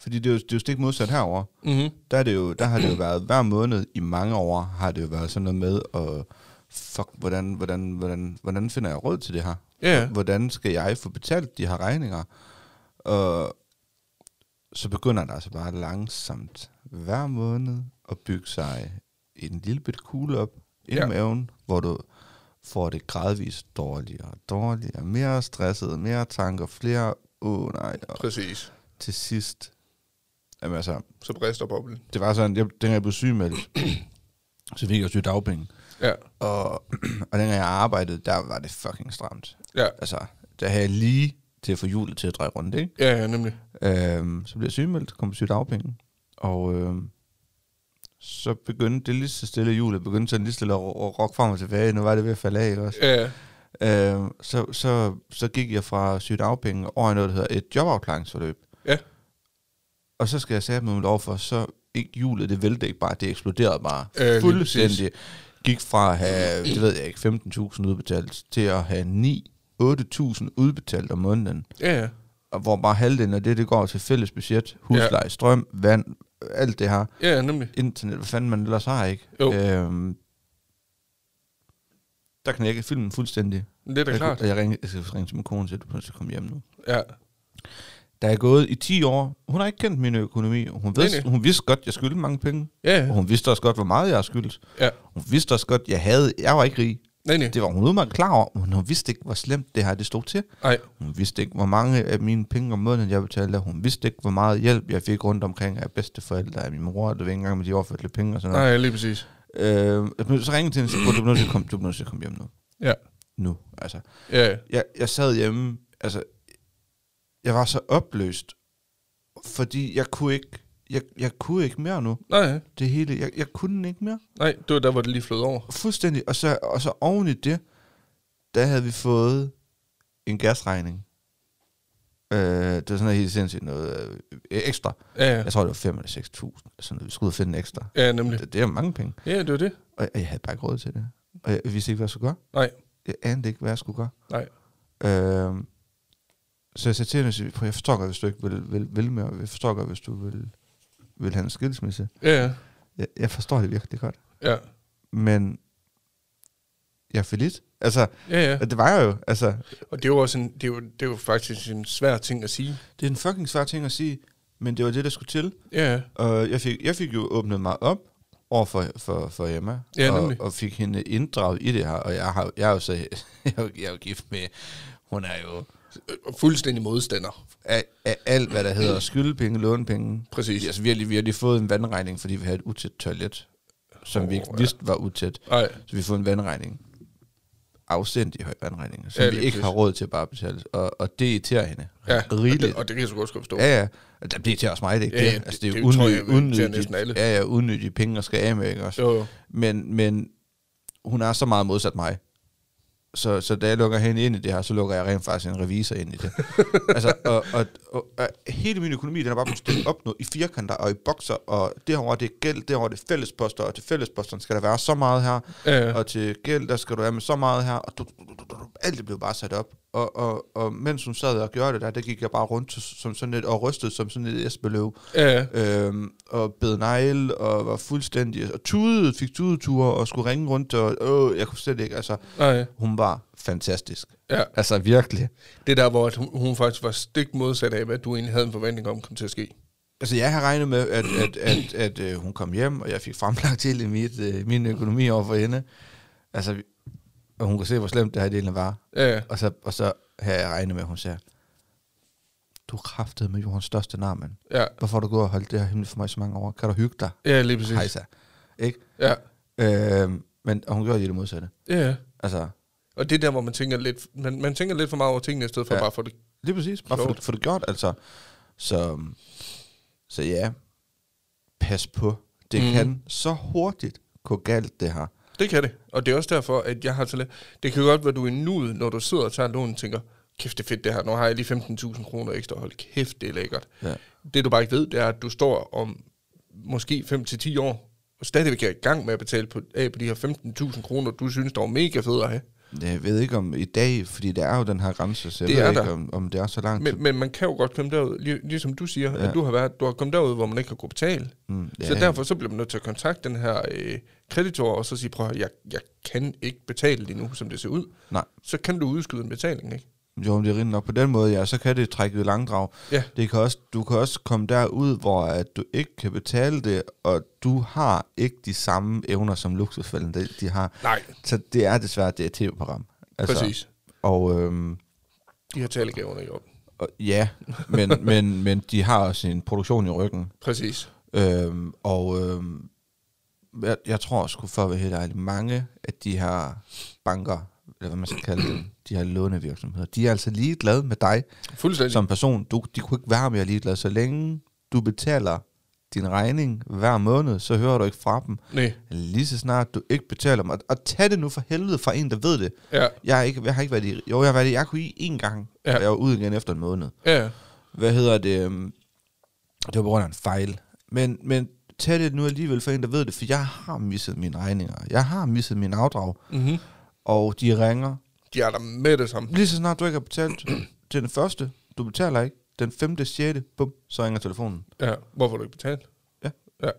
S1: Fordi det er, jo, det er jo stik modsat herover.
S2: Mm-hmm.
S1: Der, er det jo, der har det jo været hver måned i mange år, har det jo været sådan noget med, og fuck, hvordan, hvordan, hvordan, hvordan finder jeg råd til det her?
S2: Ja,
S1: hvordan skal jeg få betalt de her regninger? Og så begynder der altså bare langsomt hver måned at bygge sig en lille bit kugle op ind
S2: Ja.
S1: ja. i maven, hvor du får det gradvist dårligere og dårligere, mere stresset, mere tanker, flere, åh oh, nej, og
S2: præcis.
S1: til sidst, jamen altså,
S2: Så brister boblen.
S1: det var sådan, jeg, dengang jeg blev sygemeldt, så fik jeg jo sygedagpenge,
S2: Ja,
S1: og, og dengang jeg arbejdede, der var det fucking stramt
S2: ja,
S1: altså, der havde jeg lige til at få hjulet til at dreje rundt, ikke?
S2: ja, ja nemlig.
S1: Øhm, så blev jeg sygemeldt, kom på sygedagpenge, og øhm, så begyndte det lige så stille hjulet, begyndte sådan lige stille at ro- ro- rokke frem og tilbage, nu var det ved at falde af, ikke også?
S2: Ja, ja.
S1: Øhm, så, så, så gik jeg fra sygedagpenge over i noget, der hedder et jobafklaringsforløb.
S2: Ja.
S1: Og så skal jeg sætte mig over for, så ikke hjulet, det væltede ikke bare, det eksploderede bare
S2: Ja, lige
S1: fuldstændig. Gik fra at have, det ved jeg ikke, 15.000 udbetalt, til at have 9 8.000 udbetalt om måneden.
S2: ja, ja.
S1: Og hvor bare halvdelen af det, det går til fælles budget, husleje, strøm, vand, alt det her
S2: ja ja, nemlig.
S1: internet, hvad fanden man ellers har, ikke?
S2: Jo.
S1: Øhm, der knækkede filmen fuldstændig.
S2: Det er da
S1: jeg,
S2: klart.
S1: kunne- Jeg, ringe, jeg skal ringe til min kone, så du pludselig komme hjem nu.
S2: Ja,
S1: Der er gået i 10 år. Hun har ikke kendt min økonomi. Hun,
S2: Nej,
S1: ved,
S2: nej.
S1: hun vidste godt, jeg skyldte mange penge.
S2: ja,
S1: Og
S2: ja.
S1: hun vidste også godt, hvor meget jeg har skyldt.
S2: ja.
S1: Hun vidste også godt, jeg havde... Jeg var ikke rig.
S2: Nej, nej.
S1: Det var hun udmærket klar over, men hun vidste ikke, hvor slemt det her det stod til.
S2: Nej.
S1: Hun vidste ikke, hvor mange af mine penge om måneden, jeg betalte. Hun vidste ikke, hvor meget hjælp, jeg fik rundt omkring af bedsteforældre, af min mor, det var ikke engang med de overførte penge og sådan noget.
S2: Nej, lige præcis.
S1: Øh, så ringede jeg til hende og sagde, "Bro, du bliver nødt til at komme, du bliver nødt til at komme hjem nu.
S2: Ja.
S1: Nu, altså.
S2: Ja, ja.
S1: Jeg, jeg sad hjemme, altså, jeg var så opløst, fordi jeg kunne ikke, jeg, jeg kunne ikke mere nu.
S2: nej,
S1: Det hele, jeg, jeg kunne ikke mere.
S2: nej, det var der, hvor det lige flød over.
S1: Fuldstændig. Og så, og så oven i det, der havde vi fået en gasregning. Øh, det var sådan noget helt sindssygt noget øh, ekstra.
S2: Ja, ja.
S1: Jeg tror, det var 5 eller 6.000. eller Sådan noget. Vi skulle ud og finde en ekstra.
S2: Ja, nemlig.
S1: Det, det er jo mange penge.
S2: Ja, det var det.
S1: Og jeg, jeg havde bare ikke råd til det. Og jeg vidste ikke, hvad jeg skulle gøre.
S2: Nej,
S1: Jeg anede ikke, hvad jeg skulle gøre.
S2: nej.
S1: Øh, så jeg sagde til hende, og siger, "Prøv, jeg forstår godt, hvis du ikke vil, vil, vil mere. Jeg forstår godt, hvis du vil, vil have en skilsmisse.
S2: Ja, ja.
S1: Jeg, jeg forstår det virkelig godt.
S2: Ja,
S1: Men jeg er for lidt. Altså,
S2: ja, ja.
S1: Og det var jeg jo. Altså,
S2: Og det var, også en, det, var, det var faktisk en svær ting at sige.
S1: det er en fucking svær ting at sige, men det var det, der skulle til.
S2: Ja, ja.
S1: Og Øh, jeg fik, jeg fik jo åbnet mig op over for, for, for Emma,
S2: Ja,
S1: og,
S2: nemlig.
S1: og fik hende inddraget i det her. Og jeg, har, jeg er jo så jeg er jo, jeg er jo gift med, hun er jo
S2: Og fuldstændig modstander.
S1: af, af alt, hvad der hedder skyldepenge, lånepenge.
S2: Præcis.
S1: Altså, vi har lige, vi har lige fået en vandregning, fordi vi havde et utæt toilet, som oh, vi ikke
S2: Åh, ja. Ah.
S1: vidste var utæt.
S2: Nej,
S1: Så vi har fået en vandregning. Afsendig høj vandregning, som
S2: Ja,
S1: ja, vi
S2: lige
S1: ikke har
S2: præcis.
S1: råd til at bare betale. Og, og det irriterer hende.
S2: ja. Og
S1: Rigeligt.
S2: det, og det kan jeg så godt forstå.
S1: Ja, ja. Og Det bliver til også mig, det er ikke
S2: Ja,
S1: ja,
S2: ja,
S1: det. Altså, det er
S2: det-
S1: jo
S2: det tror jeg,
S1: unødige,
S2: det irriterer
S1: unødige,
S2: næsten alle.
S1: Ja, ja, unødige penge at skal af med, ikke også?
S2: Jo, jo.
S1: Men, men hun er så meget modsat mig. Så, så da jeg lukker hende ind i det her, så lukker jeg rent faktisk en revisor ind i det. altså, og, og, og, og, hele min økonomi, den er bare blevet stillet op nu i firkanter og i bokser, og derovre det er gæld, derovre det er fællesposter, og til fællesposterne skal der være så meget her,
S2: Ja, ja.
S1: og til gæld, der skal du have med så meget her, og du, du, du, du, du, alt det blev bare sat op. Og, og, og mens hun sad og gjorde det der, der gik jeg bare rundt som sådan et, og rystede som sådan et esbeløv,
S2: Ja, ja.
S1: øhm, og bed negle, og var fuldstændig, og tudede, fik tudeture, og skulle ringe rundt, og åh, jeg kunne slet ikke, altså,
S2: Nej.
S1: hun var fantastisk.
S2: Ja.
S1: Altså, virkelig.
S2: Det der, hvor at hun, hun faktisk var stik modsat af, hvad du egentlig havde en forventning om, kom til at ske.
S1: Altså, jeg har regnet med, at, at, at, at, at øh, hun kom hjem, og jeg fik fremlagt hele mit, øh, min økonomi over for hende. Altså, vi- og hun kunne se, hvor slemt det her delen var.
S2: Ja, ja.
S1: Og så, og så havde jeg regnet med, at hun siger, du kræftede med jordens største nar, mand.
S2: Ja,
S1: Hvorfor har du gået og holdt det her hemmeligt for mig i så mange år? Kan du hygge dig?
S2: ja lige præcis.
S1: Hejsa. Ikke?
S2: Ja,
S1: Øhm, men og hun gjorde lige det modsatte.
S2: ja, ja.
S1: Altså,
S2: Og det er der, hvor man tænker lidt, man, man tænker lidt for meget over tingene, i stedet for ja.
S1: Ja.
S2: bare for det.
S1: lige præcis. Bare for,
S2: Klogt.
S1: for det gjort, altså. Så, så ja, pas på. Det
S2: Mhm.
S1: mm. kan så hurtigt gå galt, det her.
S2: Det kan det. Og det er også derfor, at jeg har så lidt... Det kan godt være, du er i nuet, når du sidder og tager lån og tænker, kæft det er fedt det her, nu har jeg lige 15.000 kroner ekstra, hold kæft det er lækkert.
S1: Ja.
S2: Det du bare ikke ved, det er, at du står om måske 5-10 år, og stadigvæk er i gang med at betale på, af på de her 15.000 kroner, du synes, der var mega fede at have.
S1: Jeg ved ikke om i dag, fordi der er jo den her grænse, så jeg
S2: Det
S1: ved
S2: er
S1: ikke,
S2: der.
S1: om, om det er så langt.
S2: Men, men man kan jo godt komme derud, lig- ligesom du siger, ja.
S1: Ja.
S2: at du har, været, du har kommet derud, hvor man ikke har kunnet betale.
S1: mm,
S2: Ja. Så derfor så bliver man nødt til at kontakte den her øh, kreditor, og så sige, prøv at høre, jeg, jeg kan ikke betale lige nu, som det ser ud.
S1: Nej.
S2: Så kan du udskyde en betaling, ikke?
S1: Jo, men det er rimeligt nok på den måde, ja. Så kan det trække i langdrag.
S2: Ja.
S1: Det kan også, du kan også komme derud, hvor at du ikke kan betale det, og du har ikke de samme evner, som luksusfælden de, de har.
S2: Nej,
S1: Så det er desværre et tv-program.
S2: altså. præcis.
S1: Og, øhm,
S2: De har talegaverne i orden.
S1: og ja, men, men, men de har også en produktion i ryggen.
S2: Præcis.
S1: Øhm, og øhm, jeg, jeg tror sgu for at være helt ærlig, mange af de her banker, eller hvad man skal kalde dem, de her lånevirksomheder, de er altså ligeglade med dig,
S2: Fuldstændig.
S1: som person, du, de kunne ikke være mere ligeglade. Så længe du betaler din regning hver måned, så hører du ikke fra dem.
S2: Nej,
S1: Lige så snart du ikke betaler dem. Og, og tag det nu for helvede fra en, der ved det.
S2: ja,
S1: Jeg, er ikke, jeg har ikke været i... Jo, jeg har været i RKI en gang,
S2: Ja.
S1: ja. og jeg var ude igen efter en måned.
S2: ja, hvad?
S1: Hvad hedder det? øhm, Det var på grund af en fejl. Men, men tag det nu alligevel for en, der ved det, for jeg har misset mine regninger. Jeg har misset mine afdrag.
S2: Mm-hmm.
S1: Og de ringer,
S2: De er der med det samme.
S1: Lige så snart du ikke har betalt til den første, du betaler ikke, den femte, sjette, bum, så ringer telefonen.
S2: Ja, hvorfor har du ikke betalt?
S1: Ja.
S2: Ja,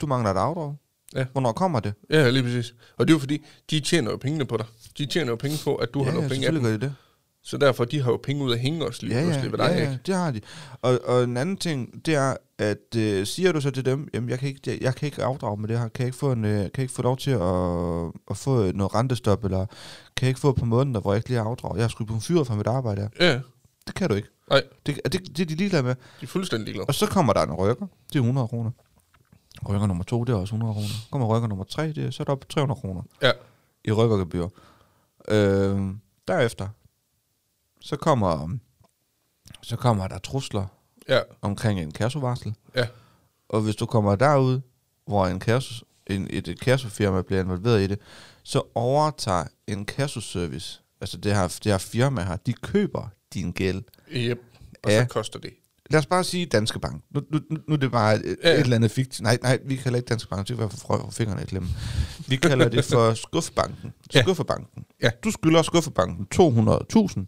S1: Du mangler et afdrag.
S2: Ja.
S1: Hvornår kommer det?
S2: ja lige præcis. Og det er jo fordi, de tjener jo pengene på dig. De tjener jo penge på, at du ja, har
S1: ja,
S2: nogle
S1: ja,
S2: penge af
S1: selvfølgelig
S2: dem.
S1: gør de det.
S2: Så derfor, de har jo penge ud af hænge også lige
S1: ja,
S2: pludselig, hvad der
S1: ja,
S2: er,
S1: ja,
S2: ikke?
S1: det har de. Og, og en anden ting, det er, at øh, siger du så til dem, jamen jeg kan ikke, jeg, jeg kan ikke afdrage med det her, kan jeg ikke få, en, øh, kan jeg ikke få lov til at, at få øh, noget rentestop, eller kan jeg ikke få et par måneder, hvor jeg ikke lige har afdrag. Jeg har sgu blevet fyret fra mit arbejde her.
S2: Ja,
S1: Det kan du ikke.
S2: nej,
S1: Det, det, det er de ligeglade med.
S2: de er fuldstændig ligeglade.
S1: Og så kommer der en rykker, det er 100 kroner. Rykker nummer to, det er også 100 kroner. Kommer rykker nummer tre, det er, så er det op på 300 kroner
S2: Ja,
S1: i rykkergebyr. Øh, derefter, så kommer, så kommer der trusler
S2: ja,
S1: omkring en kassovarsel.
S2: ja,
S1: Og hvis du kommer derud, hvor en kasso, en, et, et kassofirma bliver involveret i det, så overtager en kassoservice, altså det her, det her firma her, de køber din gæld.
S2: yep. Og så
S1: Ja.
S2: koster det.
S1: Lad os bare sige Danske Bank. Nu, nu, nu- nu er det bare et,
S2: Ja.
S1: ja. et eller andet figt. Nej, nej, vi kalder ikke Danske Bank. Det kan være for frø- for fingrene i klemme. Vi kalder det for Skuffebanken.
S2: Ja.
S1: Skuffebanken.
S2: Ja.
S1: Du skylder Skuffebanken 200.000.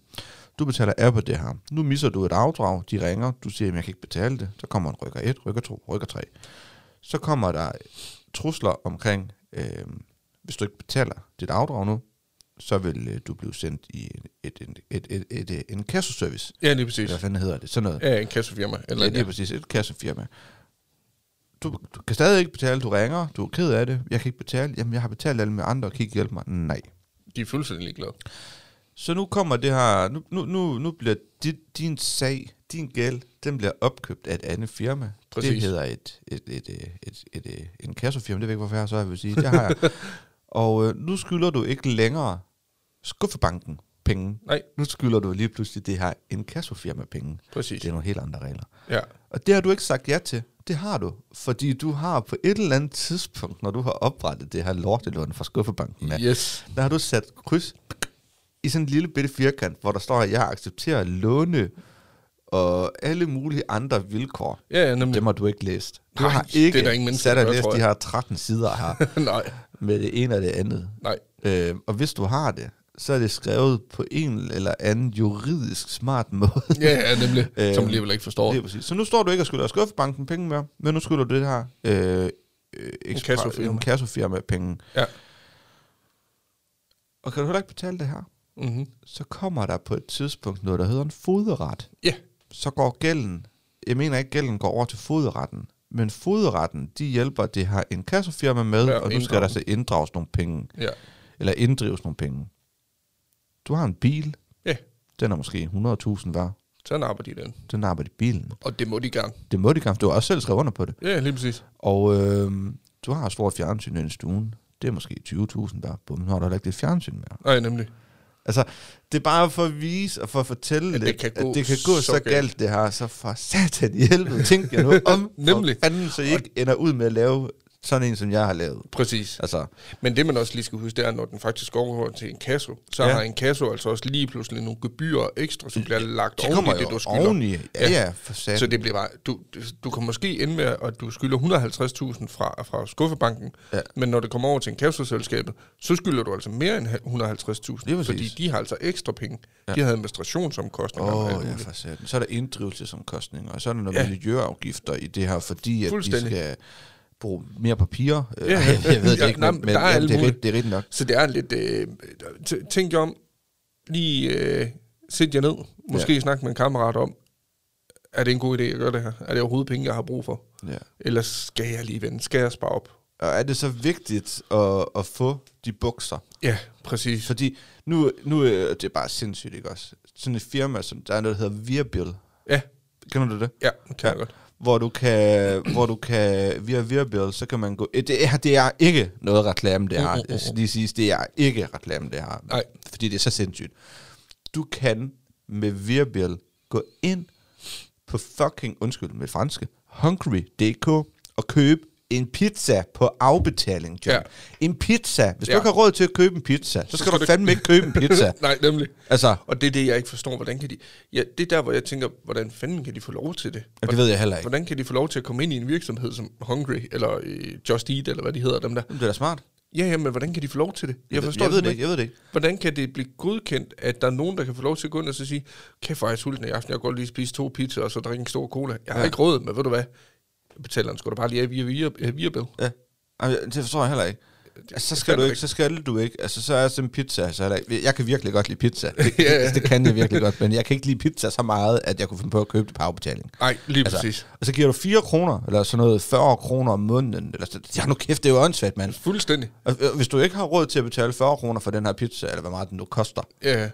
S1: Du betaler af på det her. Nu misser du et afdrag. De ringer. Du siger, at jeg kan ikke betale det. Så kommer en rykker 1, rykker 2, rykker 3. Så kommer der trusler omkring, øh, hvis du ikke betaler dit afdrag nu, så vil øh, du blive sendt i et, et, et, et, et, et, en kassoservice.
S2: Ja, lige præcis.
S1: Hvad fanden hedder det? Sådan noget.
S2: Ja, en kassefirma. Eller
S1: Eller lige
S2: ja,
S1: præcis et kassefirma. Du, du kan stadig ikke betale, du ringer, du er ked af det, jeg kan ikke betale, jamen jeg har betalt alle mine andre, kan I ikke hjælpe mig? Nej.
S2: de er fuldstændig ligeglade.
S1: Så nu kommer det her, nu, nu, nu, nu bliver din, din sag, din gæld, den bliver opkøbt af et andet firma. Det
S2: Præcis.
S1: hedder et, et, et, et, et, et, et en kassefirma, det ved jeg ikke, hvorfor jeg har, så jeg vil sige, det har jeg. Og øh, nu skylder du ikke længere skuffebanken penge.
S2: Nej.
S1: Nu skylder du lige pludselig det her en kassefirma penge.
S2: Præcis.
S1: Det er nogle helt andre regler.
S2: Ja,
S1: Og det har du ikke sagt ja til. Det har du, fordi du har på et eller andet tidspunkt, når du har oprettet det her lortelån fra skuffebanken, af,
S2: yes.
S1: der har du sat kryds i sådan en lille bitte firkant, hvor der står, at jeg accepterer låne og alle mulige andre vilkår.
S2: Ja, ja, nemlig.
S1: Dem har du ikke læst. Du
S2: Nej,
S1: har ikke
S2: det er der ingen mennesker,
S1: sat
S2: der
S1: og
S2: gør,
S1: læst
S2: tror
S1: de
S2: jeg.
S1: her 13 sider her
S2: nej,
S1: med det ene og det andet.
S2: nej.
S1: Øh, og hvis du har det, så er det skrevet på en eller anden juridisk smart måde.
S2: Ja, ja, nemlig.
S1: Øhm,
S2: Som alligevel ikke forstår.
S1: Lige præcis. Så nu står du ikke og skylder skuffebanken penge mere, men nu skylder du det her øh, øh, ekstra-
S2: kassofirma.
S1: en kassofirma penge.
S2: Ja.
S1: Og kan du heller ikke betale det her,
S2: Mm-hmm.
S1: så kommer der på et tidspunkt noget, der hedder en foderet.
S2: Ja,
S1: Så går gælden, jeg mener ikke, gælden går over til foderetten, men foderetten, de hjælper det her en kassofirma med,
S2: Ja,
S1: ja, og nu skal
S2: inddrage
S1: der så inddrages nogle penge,
S2: ja,
S1: eller inddrives nogle penge. Du har en bil,
S2: ja.
S1: den er måske 100.000 værd,
S2: Så napper de den.
S1: den napper de bilen.
S2: Og det må de gerne.
S1: Det må de gerne, for du har også selv skrevet under på det.
S2: Ja, lige præcis.
S1: Og øh, du har et stort fjernsyn i stuen. Det er måske 20.000 der. Bum, nu har du heller ikke det fjernsyn mere.
S2: Nej, nemlig.
S1: Altså, det er bare for at vise og for at fortælle
S2: At det
S1: lidt,
S2: kan gå
S1: at det kan gå
S2: så
S1: så,
S2: galt.
S1: galt. det her. Så for satan i helvede, tænk jer nu om.
S2: Nemlig.
S1: For fanden, så I ikke ender ud med at lave sådan en, som jeg har lavet.
S2: Præcis.
S1: Altså,
S2: Men det, man også lige skal huske, det er, når den faktisk går over til en kasso, så ja.
S1: Ja.
S2: har en kasso altså også lige pludselig nogle gebyrer ekstra, som bliver lagt
S1: de
S2: oven
S1: kommer
S2: i det,
S1: jo
S2: du skylder.
S1: oveni. Ja, ja, for satan.
S2: Så det bliver bare, du, du kan måske ende med, at du skylder 150.000 fra, fra skuffebanken, ja.
S1: Ja.
S2: men når det kommer over til en kassoselskabet, så skylder du altså mere end 150.000,
S1: Lige præcis.
S2: fordi de har altså ekstra penge. Ja. De havde administrationsomkostninger. og alt
S1: Åh, oh, ja,
S2: muligt.
S1: for satan. Så er der inddrivelsesomkostninger, og så er der nogle
S2: Ja.
S1: ja. miljøafgifter i det her, fordi at de
S2: Fuldstændig.
S1: skal bruge mere papir. Ja.
S2: Ja.
S1: jeg ved det
S2: Ja,
S1: ikke,
S2: nej,
S1: men,
S2: men
S1: men
S2: der er
S1: jamen,
S2: alt
S1: det, er,
S2: muligt.
S1: rigt- det er rigtigt nok.
S2: Så det er lidt... Øh, t- tænk jer om, lige øh, sæt jer ned, måske ja. snak med en kammerat om, er det en god idé at gøre det her? Er det overhovedet penge, jeg har brug for?
S1: Ja.
S2: Eller skal jeg lige vende? Skal jeg spare op?
S1: Og er det så vigtigt at, at få de bukser?
S2: Ja, præcis.
S1: Fordi nu, nu øh, det er det bare sindssygt, ikke også? Sådan et firma, som der er noget, der hedder Virbil.
S2: Ja,
S1: Kender du det?
S2: ja, det kan jeg godt.
S1: Hvor du kan, hvor du kan via Virbil, så kan man gå... Eh, Det er, det er ikke noget reklame, det her. Jeg skal lige sige, det er ikke reklame, det her.
S2: Nej.
S1: Fordi det er så sindssygt. Du kan med Virbil gå ind på fucking, undskyld med franske, hungry.dk og købe en pizza på afbetaling, John.
S2: Ja.
S1: Ja. En pizza. Hvis ja.
S2: Ja.
S1: du ikke har råd til at købe en pizza, så skal
S2: skal
S1: du
S2: du-
S1: fandme ikke købe en pizza.
S2: Nej, nemlig.
S1: Altså,
S2: Og det er det, jeg ikke forstår. Hvordan kan de... Ja, det er der, hvor jeg tænker, hvordan fanden kan de få lov til det?
S1: ja, det ved jeg heller ikke.
S2: Hvordan kan de få lov til at komme ind i en virksomhed som Hungry, eller øh, Just Eat, eller hvad de hedder, dem der?
S1: Det er da smart.
S2: Ja, ja, men hvordan kan de få lov til det?
S1: Jeg, forstår jeg ved det ikke. Jeg ved det ikke.
S2: Hvordan kan det blive godkendt, at der er nogen, der kan få lov til at gå ind og så sige, kæft, hvor er jeg sulten i aften, jeg kan godt lige spise to pizzaer og så drikke en stor cola. Jeg har ja. ikke råd, men ved du hvad? Jeg betaler den sgu da bare lige af via, via, via bill.
S1: Ja. Jamen, det forstår jeg heller ikke.
S2: det-
S1: Altså, så
S2: jeg
S1: skal, du
S2: fatter
S1: ikke, så skal du ikke. Altså, så er sådan en pizza. Så er der, ikke- jeg kan virkelig godt lide pizza. Det,
S2: Ja, ja.
S1: det, det, kan jeg virkelig godt, men jeg kan ikke lide pizza så meget, at jeg kunne finde på at købe det på afbetaling.
S2: Nej, lige
S1: Altså,
S2: præcis.
S1: Og så giver du 4 kroner, eller sådan noget 40 kroner om måneden. Eller sådan, ja, nu kæft, det er jo åndssvagt, mand.
S2: Fuldstændig.
S1: Og, øh, Hvis du ikke har råd til at betale 40 kroner for den her pizza, eller hvor meget den nu koster,
S2: Ja, ja.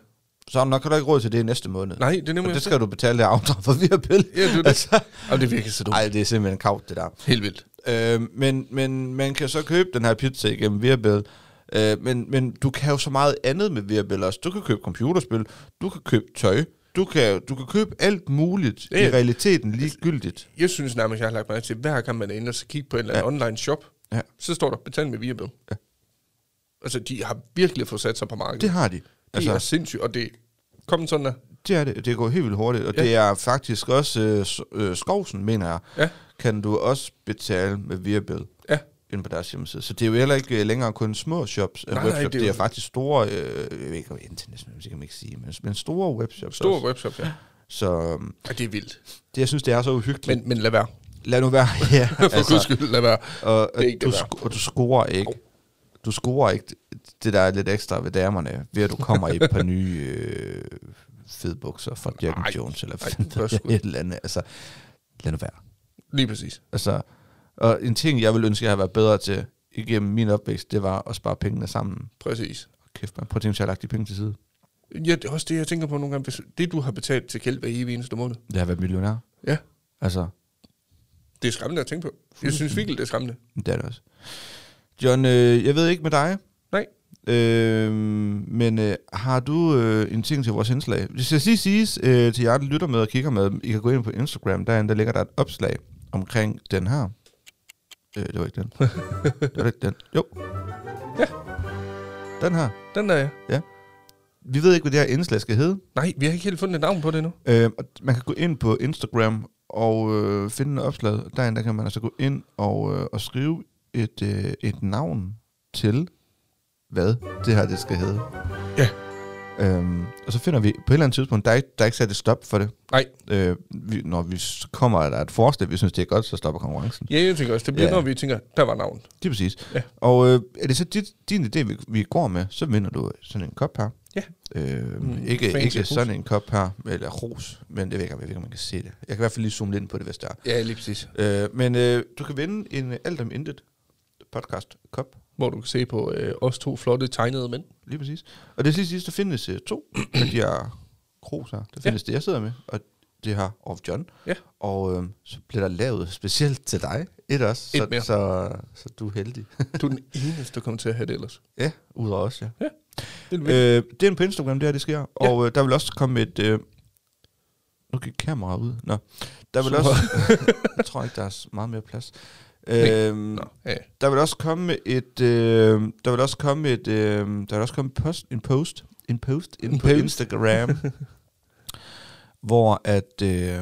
S1: så har du nok heller ikke råd til det i næste måned.
S2: Nej, det er
S1: Og
S2: nemlig...
S1: det skal du betale det afdrag for via pille.
S2: Ja, det er det.
S1: Altså,
S2: Og det virker så dumt.
S1: ej, det er simpelthen kavt, det der.
S2: Helt vildt.
S1: Øh, men, men man kan så købe den her pizza igennem Viabil. Øh, men, men du kan jo så meget andet med Viabil også. Du kan købe computerspil, du kan købe tøj, du kan, du kan købe alt muligt
S2: Ja.
S1: i realiteten ligegyldigt.
S2: Jeg synes nærmest, jeg har lagt mærke til, hver gang man er inde og så kigge på en eller anden online shop,
S1: Ja.
S2: så står der, betal med Viabil. Ja. Altså, de har virkelig fået sat sig på markedet.
S1: Det har de.
S2: altså. er sindssygt, og det kom sådan der.
S1: Det er det. Det går helt vildt hurtigt, og
S2: Ja.
S1: ja. det er faktisk også øh, s- øh, Skovsen, mener jeg,
S2: Ja.
S1: kan du også betale med Viabil
S2: Ja,
S1: inde på deres hjemmeside. Så det er jo heller ikke øh, længere kun små shops, nej,
S2: Nej,
S1: webshop.
S2: nej,
S1: det, er jo faktisk store, øh, jeg ved ikke om internationalt, det kan man ikke sige, men, men store webshops
S2: stor
S1: også.
S2: webshop, ja.
S1: Så øhm,
S2: ja. det er vildt.
S1: det, jeg synes, det er så uhyggeligt. Men,
S2: Men, men lad være.
S1: Lad nu være. ja,
S2: For altså, guds skyld, lad være.
S1: og, og,
S2: det er ikke
S1: du,
S2: det værd.
S1: sk- og du scorer ikke. Du scorer ikke det- det, der er lidt ekstra ved damerne, ved at du kommer i et par nye øh, fedbukser fra Jack
S2: Nej,
S1: and Jones, eller
S2: nej,
S1: fanden
S2: det er sgu
S1: ved jeg, et eller andet. Altså, lad nu være.
S2: Lige præcis.
S1: Altså, og en ting, jeg ville ønske, jeg havde været bedre til igennem min opvækst, det var at spare pengene sammen.
S2: Præcis.
S1: Kæft, man. Prøv at tænke, hvis jeg har lagt de penge til side.
S2: Ja, det er også det, jeg tænker på nogle gange. Hvis Det, du har betalt til Kjeld hver evig eneste måned.
S1: Det har været millionær.
S2: Ja,
S1: Altså,
S2: det er skræmmende at tænke på. Jeg synes virkelig, det er skræmmende.
S1: det er det også. John, øh, jeg ved ikke med dig,
S2: Nej,
S1: Øh, men øh, har du øh, en ting til vores indslag? Det skal lige siges øh, til jer, der lytter med og kigger med, I kan gå ind på Instagram, derinde, der ligger der et opslag omkring den her. Øh, det var ikke den. det var ikke den. Jo.
S2: Ja.
S1: Den her.
S2: den er jeg.
S1: Vi ved ikke, hvad det her indslag skal hedde.
S2: Nej, vi har ikke helt fundet et navn på det endnu.
S1: Øh, og man kan gå ind på Instagram og øh, finde en opslag. Derinde der kan man altså gå ind og, øh, og skrive et, øh, et navn til, hvad det her det skal hedde.
S2: Ja.
S1: Øhm, og så finder vi på et eller andet tidspunkt, der er ikke, der er ikke sat et stop for det.
S2: Nej.
S1: Øh, vi, når vi s- kommer, og der er et forslag, vi synes, det er godt, så stopper konkurrencen.
S2: Ja, jeg tænker også, det bliver,
S1: Ja.
S2: ja. når vi tænker, der var navn.
S1: Det er præcis.
S2: Ja.
S1: Og øh, er det så dit, din idé, vi, vi går med, så vinder du sådan en kop her.
S2: Ja.
S1: Øh,
S2: Mm,
S1: mm, ikke
S2: fancy
S1: ikke
S2: ros.
S1: sådan en kop her, eller ros, men det ved jeg ikke, jeg ved ikke, om man kan se det. Jeg kan i hvert fald lige zoome lidt ind på det, hvis der
S2: Ja, lige præcis.
S1: er. Øh, men øh, du kan vinde en øh, alt om intet podcast kop,
S2: Hvor du kan se på øh, os to flotte tegnede mænd.
S1: lige præcis. Og det sidste, der findes øh, to af de her kros her. Der findes ja. det, jeg sidder med, og det her of John.
S2: Ja.
S1: Og øh, så bliver der lavet specielt til dig et også,
S2: Et
S1: så,
S2: mere.
S1: så, så, så du er heldig.
S2: Du er den eneste, der kommer til at have det ellers.
S1: ja, ud af os, ja.
S2: Det er øh,
S1: Øh, det er en på Instagram, det her, det sker. Ja. Og øh, der vil også komme et... Øh, nu gik kameraet ud. Nå. Der vil
S2: Så-
S1: også... jeg tror ikke, der er s- meget mere plads.
S2: Nej.
S1: Øhm,
S2: Nå, ja.
S1: der vil også komme et... Øh, der vil også komme et... Øh, der vil også komme post, en post. En post inde
S2: En
S1: på
S2: post.
S1: Instagram. hvor at... Øh,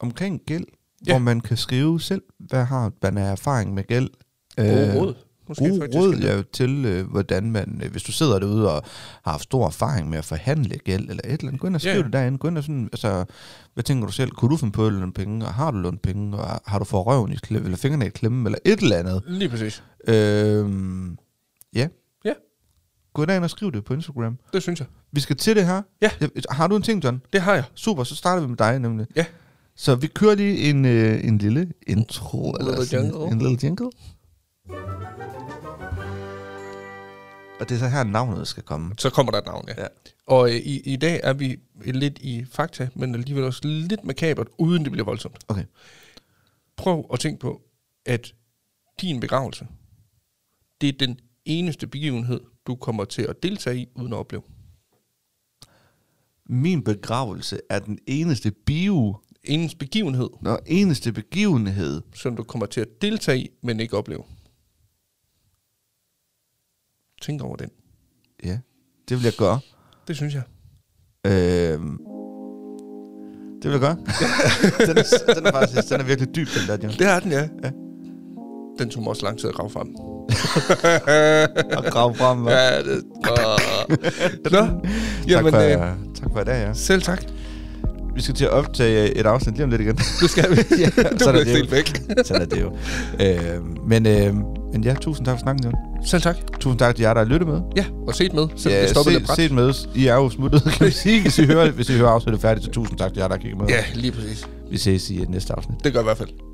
S1: omkring gæld.
S2: Ja.
S1: Ja. Hvor man kan skrive selv, hvad har man af erfaring med gæld.
S2: Gode
S1: Øh,
S2: råd. Måske
S1: gode
S2: faktisk.
S1: råd ja, til, øh, hvordan man, øh, hvis du sidder derude og har haft stor erfaring med at forhandle gæld eller et eller andet, gå ind og skriv
S2: Ja.
S1: yeah. det derinde, gå ind og sådan, altså, hvad tænker du selv, kunne du finde på at låne penge, og har du lånt penge, og har du fået røven i klemme, eller fingrene i klemme, eller et eller andet.
S2: Lige præcis.
S1: Øhm, ja.
S2: Ja.
S1: Gå derind og skriv det på Instagram.
S2: Det synes jeg.
S1: Vi skal til det her.
S2: Ja.
S1: Jeg- Har du en ting, John?
S2: Det har jeg.
S1: Super, så starter vi med dig nemlig.
S2: Ja.
S1: Så vi kører lige en, øh, en lille intro, eller
S2: Little
S1: sådan,
S2: jingle.
S1: en lille jingle. Og det er så her, navnet skal komme.
S2: Så kommer der et navn, ja.
S1: Ja.
S2: ja. Og øh, i, i dag er vi lidt i fakta, men alligevel også lidt makabert, uden det bliver voldsomt.
S1: Okay.
S2: Prøv at tænke på, at din begravelse, det er den eneste begivenhed, du kommer til at deltage i, uden at opleve.
S1: Min begravelse er den eneste bio,
S2: Eneste begivenhed,
S1: og eneste begivenhed.
S2: som du kommer til at deltage i, men ikke opleve. Tænk over den.
S1: Ja, det vil jeg gøre.
S2: Det synes jeg.
S1: Øhm, det vil jeg gøre. den, er, den, er faktisk, den er virkelig dyb, den der, John.
S2: Det er den, ja. ja. Den tog mig også lang tid at grave frem.
S1: Og grav frem. Ja.
S2: Ja, det... Nå,
S1: Tak,
S2: jamen,
S1: for,
S2: øh,
S1: øh, tak for i dag, ja.
S2: selv tak.
S1: Vi skal til at optage øh, et afsnit lige om lidt igen.
S2: Det skal vi.
S1: ja,
S2: du
S1: sådan
S2: bliver
S1: er det
S2: ikke
S1: jo.
S2: helt væk.
S1: Sådan er det jo. Øh, men øh, Men ja, tusind tak for snakken, Jon.
S2: Selv tak.
S1: Tusind tak til jer, der har lyttet med.
S2: Ja, og set med. Selv
S1: Ja,
S2: det stoppede
S1: se,
S2: lidt brat.
S1: set med. os. I er jo smuttet, kan vi sige, hvis I hører, hvis I hører afsnittet færdigt. Så tusind tak til jer, der har kigget med.
S2: Ja, lige præcis.
S1: Vi ses i øh, næste afsnit.
S2: Det gør jeg i hvert fald.